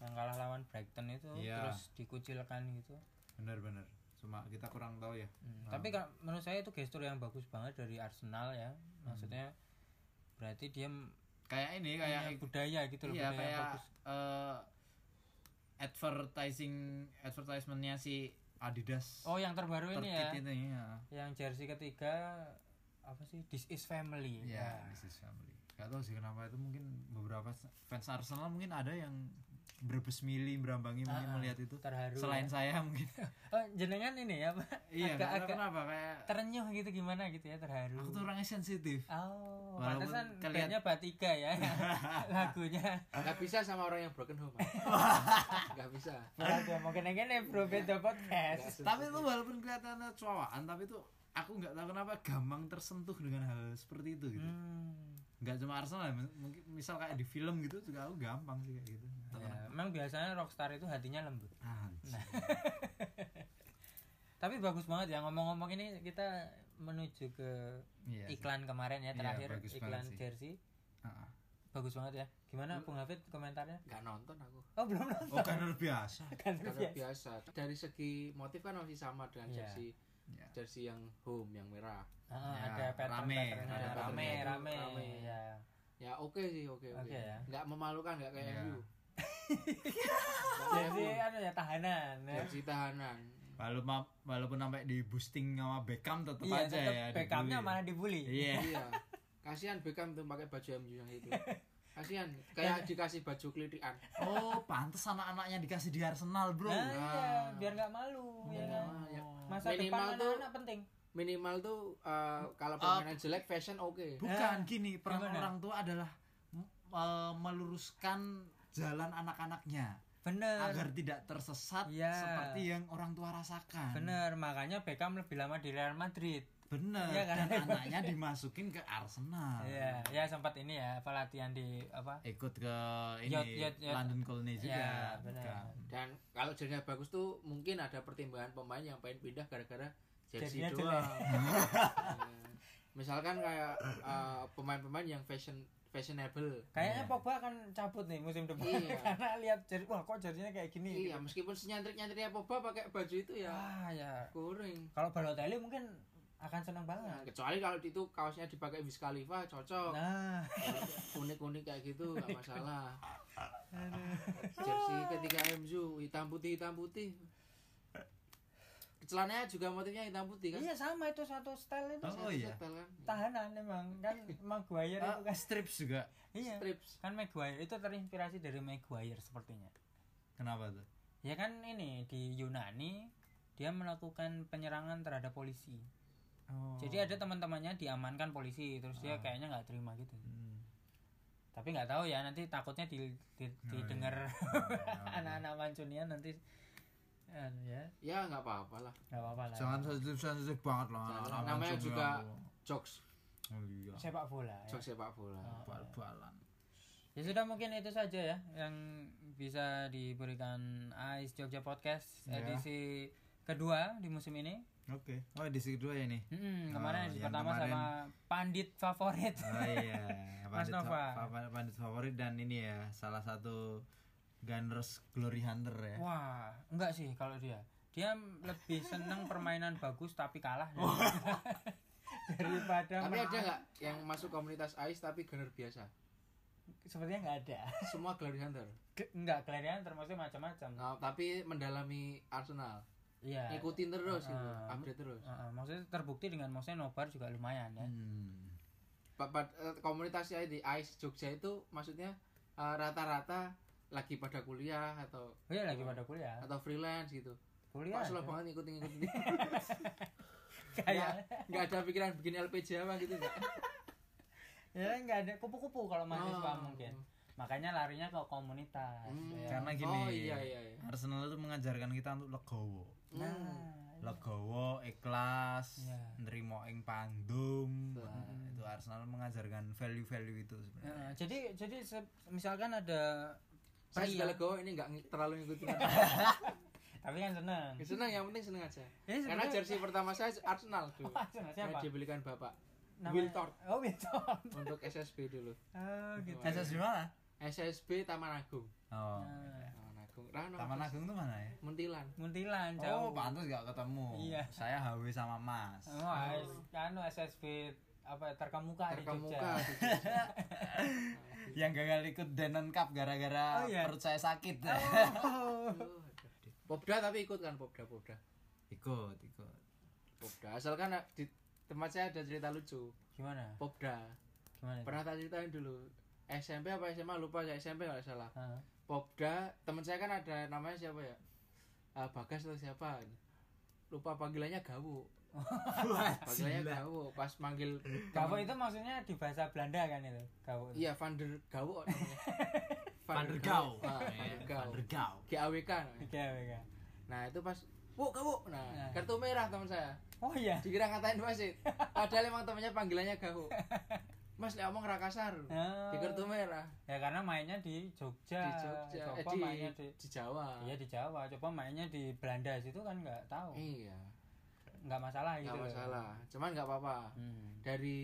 S2: Yang kalah lawan Brighton itu
S3: Iya.
S2: terus dikucilkan gitu.
S3: bener-bener cuma kita kurang tahu ya
S2: Hmm,
S3: Ah.
S2: Tapi kalau menurut saya itu gestur yang bagus banget dari Arsenal ya.
S3: Hmm.
S2: Maksudnya berarti dia m-
S3: kayak ini
S2: punya
S3: kayak
S2: budaya gitu loh,
S3: iya
S2: budaya
S3: kayak
S2: bagus.
S3: eh, advertising advertisementnya si Adidas
S2: Oh, yang terbaru ini ya.
S3: terkait itu ya
S2: Yang jersey ketiga apa sih? This is family.
S3: ya this is family gak tau sih kenapa itu mungkin beberapa fans Arsenal mungkin ada yang berbes mili berambangi
S2: Ah,
S3: mungkin
S2: ah,
S3: melihat itu
S2: terharu
S3: selain
S2: ya.
S3: saya mungkin
S2: Oh, jenengan ini ya, Pak.
S3: iya
S2: agak,
S3: agak,
S2: agak
S3: kenapa kayak
S2: terenyuh gitu gimana gitu ya terharu.
S3: aku tuh orangnya sensitif
S2: Oh,
S3: Walaupun
S2: pantesan
S3: kalian-
S2: bandnya Batiga ya lagunya.
S4: Gak bisa sama orang yang broken home. Gak bisa.
S2: Lagu mau kena kene bro beda
S3: Iya.
S2: podcast.
S3: tapi itu walaupun kelihatannya cowaan tapi itu aku nggak tahu kenapa gampang tersentuh dengan hal seperti itu gitu
S2: Hmm.
S3: nggak cuma Arsenal ya, mungkin misal kayak di film gitu juga aku gampang sih kayak gitu
S2: Ya, emang biasanya rockstar itu hatinya lembut.
S3: Anjir.
S2: Nah, Tapi bagus banget ya ngomong-ngomong ini kita menuju ke
S3: Iya sih.
S2: iklan kemarin ya
S3: Iya,
S2: terakhir
S3: bagus
S2: iklan
S3: banget sih.
S2: jersey.
S3: Ah, ah.
S2: Bagus banget ya. Gimana Bung Hafid komentarnya?
S4: Gak nonton aku.
S2: Oh, belum nonton.
S3: Oh kan luar biasa.
S2: Kan
S3: Iya.
S4: Karena
S2: biasa.
S4: biasa. Dari segi motif kan masih sama dengan
S2: Iya.
S4: jersey
S3: Ya.
S4: jersey yang home yang merah.
S2: Ah,
S3: Ya,
S2: ada pattern
S3: rame,
S2: patternnya.
S3: ada
S2: rame,
S4: patternnya.
S2: rame,
S4: Rame.
S2: Ya.
S4: Ya oke sih oke oke.
S2: Oke ya.
S4: Gak memalukan gak kayak
S3: Iya.
S4: MU.
S2: Jersey anu ya tahanan.
S3: Iya,
S2: Ya.
S4: Jersey tahanan.
S3: Walaupun walaupun sampai di boosting sama Beckham tetap
S2: Iya,
S3: aja
S2: tetep
S3: ya.
S2: Beckhamnya
S3: dibully.
S2: malah dibully.
S3: Iya.
S4: Iya. Kasihan Beckham tuh pakai baju MU yang itu. Kasihan
S2: Ya.
S4: kayak dikasih baju kelitikan.
S3: Oh, pantes anak-anaknya dikasih di Arsenal, Bro.
S2: Nah, iya,
S4: Nah.
S2: biar nggak malu ya kan?
S4: Nah, ya.
S2: Masa
S4: Minimal
S2: depan
S4: tuh-
S2: anak-anak Oh. penting.
S4: Minimal tuh eh, kalau permainan jelek fashion oke.
S3: Bukan gini, peran
S2: nah. Gimana?
S3: orang tua adalah m- eh, meluruskan jalan anak-anaknya
S2: Bener.
S3: agar tidak tersesat
S2: Iya.
S3: seperti yang orang tua
S4: kan.
S3: rasakan.
S2: Bener, makanya Beckham lebih lama di Real Madrid.
S3: Bener.
S2: Iya kan?
S3: Dan anaknya dimasukin ke
S4: Ah.
S3: Arsenal.
S2: Iya, ya sempat ini ya, apa latihan di apa?
S3: Ikut ke ini
S2: Yacht, yacht, yacht.
S3: London Colony juga.
S2: Iya, bener.
S3: Bukan.
S4: Dan kalau jersinya bagus tuh mungkin ada pertimbangan pemain yang pengen pindah gara-gara jersey
S2: Jersinya
S4: doang. misalkan kayak eh, pemain-pemain yang fashion fashionable
S2: Kayaknya Pogba akan cabut nih musim depan
S4: Iya.
S2: karena lihat jari wah kok jarinya kayak gini.
S4: iya meskipun senyantrik nyantriknya Pogba pakai baju itu
S2: gitu.
S4: ya
S2: Ah ya.
S4: kuring
S2: Kalau Balotelli mungkin akan senang
S4: Nah,
S2: banget.
S4: kecuali kalau itu kaosnya dipakai Wiz Khalifa cocok
S2: Nah,
S4: kuning kuning kayak gitu nggak masalah jersey ketika MU hitam putih hitam putih celananya juga motifnya hitam putih kan
S2: iya sama itu satu style itu.
S3: Oh, iya.
S4: Setel kan?
S2: Tahanan emang kan Maguire itu kan.
S3: Eh, strips juga.
S2: Iya.
S4: strips
S2: Kan Maguire itu terinspirasi dari Maguire sepertinya.
S3: Kenapa tuh?
S2: Ya kan ini di Yunani dia melakukan penyerangan terhadap polisi.
S3: Oh. Ah.
S2: Jadi ada teman-temannya diamankan polisi, terus dia kayaknya nggak terima gitu.
S3: Hmm.
S2: Tapi nggak tahu ya nanti takutnya di, di-
S3: Oh, iya.
S2: didengar anak-anak mancunian nanti anu ya
S4: ya nggak apa-apa lah
S2: nggak apa-apa lah. ya.
S3: Jangan sensitif sensitif banget loh.
S4: Jangan,
S3: anak-anak
S4: namanya
S3: mancung
S4: juga
S3: ya.
S4: jokes
S3: Oh iya.
S2: Sepak bola. Ya.
S4: jokes sepak bola
S3: Oh. Bal-balan.
S2: Ya sudah mungkin itu saja ya yang bisa diberikan Ais Jogja Podcast
S3: Ya.
S2: edisi kedua di musim ini.
S3: Oke. Oh edisi kedua ya nih.
S2: Mm-mm,
S3: Oh,
S2: kemarin edisi
S3: yang
S2: pertama
S3: kemarin.
S2: sama pandit favorit.
S3: Oh iya.
S2: Mas
S3: Pandit
S2: Nova.
S3: fa- fa- Pandit favorit dan ini ya salah satu Gunners Glory Hunter ya.
S2: Wah, enggak sih kalau dia. Dia lebih seneng permainan bagus tapi kalah daripada
S4: tapi
S2: men-
S4: ada nggak yang masuk komunitas AIS tapi gunner biasa
S2: sepertinya enggak ada.
S4: semua glory hunter
S2: Ke- Enggak, kelarian termasuk macam-macam.
S4: Nah, tapi mendalami Arsenal
S2: Iya.
S4: ngikutin terus gitu
S2: Ah.
S4: update terus
S2: Heeh, maksudnya terbukti dengan maksudnya nobar juga lumayan ya.
S3: Hmm.
S4: Ba- ba- eh, komunitasnya di AIS Jogja itu maksudnya eh, rata-rata lagi pada kuliah atau
S2: Oh iya lagi pada kuliah.
S4: atau freelance gitu
S2: Kuliah.
S4: Pak slow
S2: aja.
S4: banget ngikutin ngikutin
S2: Kayak
S4: nggak ada pikiran bikin LPJ apa gitu
S2: ya
S4: nggak
S2: nggak ada kupu-kupu kalau mahasiswa
S4: Oh.
S2: mungkin makanya larinya ke komunitas
S4: Hmm.
S2: ya.
S3: Karena gini.
S4: oh iya iya iya
S3: Arsenal itu mengajarkan kita untuk legowo.
S2: nah
S4: Hmm.
S3: Legowo, ikhlas,
S2: Iya.
S3: nerimo ing pandum.
S4: Betul.
S3: Nah, itu Arsenal mengajarkan value-value itu sebenarnya.
S2: Heeh, jadi jadi se- misalkan ada
S4: saya
S2: pria-
S4: juga legowo ini nggak ng- terlalu ngikutin Ya,
S2: tapi kan seneng
S4: seneng yang penting seneng aja
S2: Ini
S4: karena
S2: sebenarnya-
S4: jersey pertama saya Arsenal dulu
S2: Wah, seneng
S4: saya
S2: siapa
S4: dibelikan bapak
S2: Namanya-
S4: Will Tort
S2: oh Will Tort.
S4: untuk SSB dulu
S2: oh gitu
S4: Wah.
S3: Kasus di mana?
S4: SSB Taman Agung
S3: Oh.
S2: Nah,
S4: Taman Agung Rano
S3: Taman Agung itu mana ya?
S4: Mentilan
S2: muntilan jauh
S3: Oh, pantas gak ketemu.
S2: Iya.
S3: Saya HW sama Mas.
S2: oh, S- anu SSB apa terkemuka, di Jogja
S4: terkemuka di Jogja.
S3: Yang gagal ikut Denon Cup
S2: iya. Oh,
S3: gara-gara
S2: iya.
S3: perut saya sakit. ya.
S2: Oh.
S4: Aduh, aduh. Popda tapi ikut kan Popda Popda
S3: ikut, ikut.
S4: Popda asalkan ah, di tempat saya ada cerita lucu
S2: gimana
S4: Popda
S2: gimana itu?
S4: pernah tak ceritain dulu SMP apa SMA lupa ya SMP nggak salah
S2: Heeh.
S4: Popda teman saya kan ada namanya siapa ya Ah, Bagas atau siapa lupa panggilannya Gawo panggilannya Gawo pas manggil
S2: Gawo
S4: temen-
S2: itu maksudnya di bahasa Belanda kan itu Gawo itu.
S4: iya Van der Gawo namanya
S3: Van der Gau.
S4: Ah, Van
S3: Iya,
S4: der Gau.
S3: Van der Gau.
S4: GAWK namanya.
S2: Oke, oke.
S4: nah itu pas Bu, Gawo nah
S2: Nah.
S4: kartu merah teman saya
S2: oh iya
S4: dikira ngatain wasit padahal emang temannya panggilannya Gawo Mas lek omong rakasar
S2: Ah.
S4: di kartu merah
S2: Ya karena mainnya di Ya, Jogja.
S4: di Jogja eh,
S2: Coba
S4: di,
S2: mainnya di
S4: di Jawa
S2: Iya di Jawa, coba mainnya di Belanda situ kan nggak tahu.
S4: Iya,
S2: Nggak masalah gitu.
S4: nggak
S2: loh.
S4: masalah. Cuman nggak apa-apa.
S2: Hmm.
S4: Dari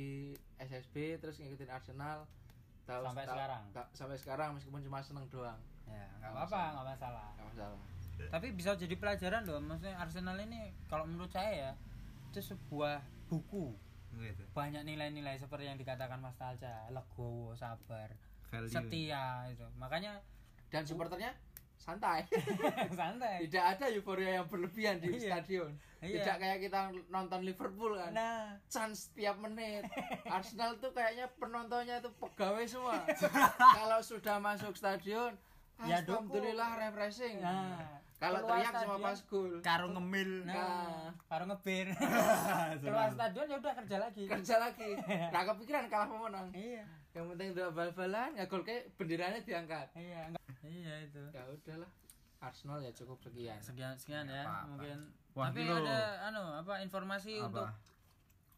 S4: SSB terus ngikutin Arsenal tahu-
S2: Sampai
S4: tahu-
S2: sekarang.
S4: ta- sampai sekarang meskipun cuma seneng doang,
S2: Ya, nggak
S4: Nggak
S2: apa-apa,
S4: masalah.
S2: nggak masalah.
S4: nggak masalah.
S2: Tapi bisa jadi pelajaran loh, maksudnya Arsenal ini kalau menurut saya ya itu sebuah buku
S3: Gitu.
S2: banyak nilai-nilai seperti yang dikatakan Mas Talca, legowo, sabar,
S3: Value.
S2: setia itu. Makanya
S4: Dan supporternya santai.
S2: santai.
S4: Tidak ada euforia yang berlebihan di
S2: Iya.
S4: stadion.
S2: Iya.
S4: Tidak kayak kita nonton Liverpool kan.
S2: Nah,
S4: Chance tiap menit. Arsenal tuh kayaknya penontonnya tuh pegawai semua. Kalau sudah masuk stadion,
S2: Ya, dukung.
S4: alhamdulillah refreshing.
S2: Nah,
S4: Kalau
S2: keluar
S4: teriak semua
S2: stadion.
S4: pas gol.
S3: Karo ngemil.
S2: nah,
S4: Nah.
S2: baru ngebir. Keluar stadion ya udah kerja lagi.
S4: kerja lagi nggak kepikiran kalah pemenang
S2: Iya.
S4: yang penting udah bal-balan nggak gol kayak benderanya diangkat
S2: Iya, enggak- Iya itu.
S4: ya udahlah Arsenal ya cukup sekian
S2: Sekian sekian ya,
S3: Nggak apa-apa.
S2: mungkin.
S3: Wah,
S2: Tapi
S3: ini loh.
S2: ada anu apa informasi
S3: Apa?
S2: untuk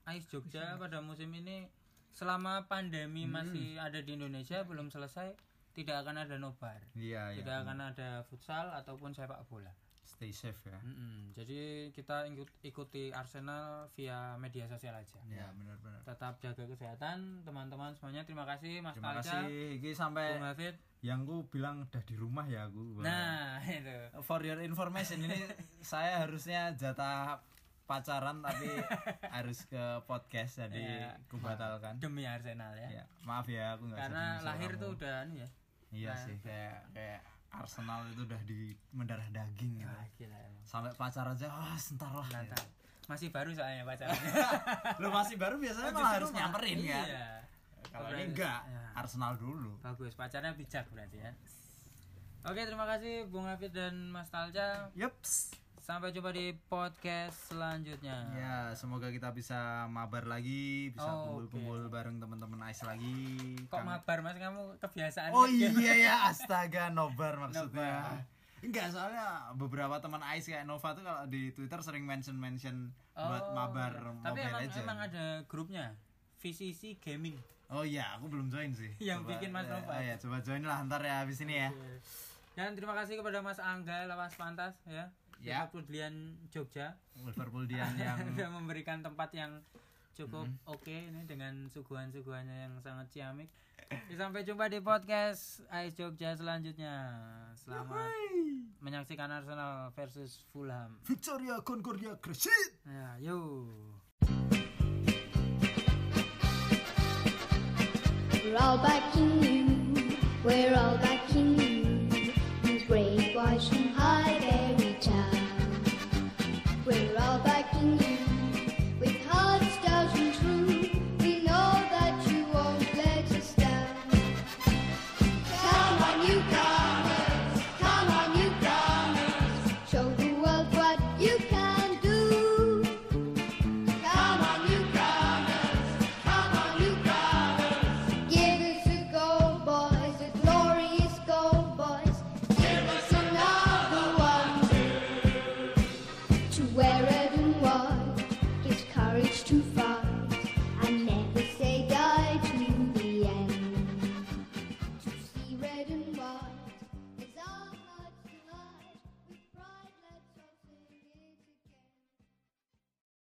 S2: Ais Jogja pada musim ini selama pandemi
S3: Hmm.
S2: masih ada di
S3: Ya.
S2: Indonesia belum selesai, tidak akan ada nobar.
S3: Iya, iya.
S2: Tidak akan ada futsal ataupun sepak bola.
S3: stay safe ya
S2: Mm-mm. Jadi kita ikut- ikuti Arsenal via media sosial aja.
S3: ya benar-benar
S2: Tetap jaga kesehatan teman-teman semuanya. Terima kasih Mas
S3: terima
S2: Palca,
S3: kasih Iki sampai
S2: Bung Hafid.
S3: yang gue bilang udah di rumah ya gue
S2: Nah, itu.
S3: for your information ini saya harusnya jatah pacaran tapi harus ke podcast jadi
S2: Iya.
S3: aku batalkan
S2: Demi Arsenal ya.
S3: ya maaf ya aku nggak
S2: Karena
S3: serius sama
S2: lahir
S3: kamu.
S2: tuh udah anu ya.
S3: iya sih kayak kayak Arsenal itu udah di mendarah daging gitu
S2: Wah, gila emang.
S3: sampai pacar aja ah sentar lah gitu.
S2: Mantap. Masih baru soalnya pacarnya.
S3: lu masih baru biasanya Nah, malah Iya. harus nyamperin kan
S2: Iya.
S3: kalau
S2: Berarti-
S3: ini enggak
S2: ya.
S3: Arsenal dulu
S2: Bagus, pacarnya bijak berarti ya. Oke, terima kasih Bung Hafid dan Mas Talja.
S3: yeps
S2: Sampai jumpa di podcast selanjutnya.
S3: ya semoga kita bisa mabar lagi bisa
S2: Oh,
S3: kumpul-kumpul bareng teman-teman Ais lagi
S2: Kok
S3: Kang-
S2: mabar Mas kamu kebiasaan gitu
S3: Oh
S2: nge-game.
S3: iya ya, astaga nobar maksudnya. Enggak, soalnya beberapa teman Ais kayak Nova tuh kalau di Twitter sering mention-mention buat
S2: Oh,
S3: mabar
S2: Tapi
S3: Mobile
S2: emang,
S3: Legends.
S2: emang ada grupnya VCC Gaming.
S3: Oh iya, aku belum join sih.
S2: Yang bikin Mas
S3: eh,
S2: Nova
S3: Oh iya, coba join lah ntar ya abis ini ya.
S2: Dan terima kasih kepada Mas Angga Lawas Pantas ya.
S3: Ya.
S2: Liverpool Dian Jogja
S3: Liverpool Dian yang
S2: yang sudah memberikan tempat yang cukup oke ini dengan suguhan-suguhannya yang sangat ciamik. Ya, Sampai jumpa di podcast Ais Jogja selanjutnya. Selamat menyaksikan Arsenal versus Fulham.
S3: Victoria Concordia Crescent.
S2: Ya, yuk.
S5: We're all back in you. We're all back in you.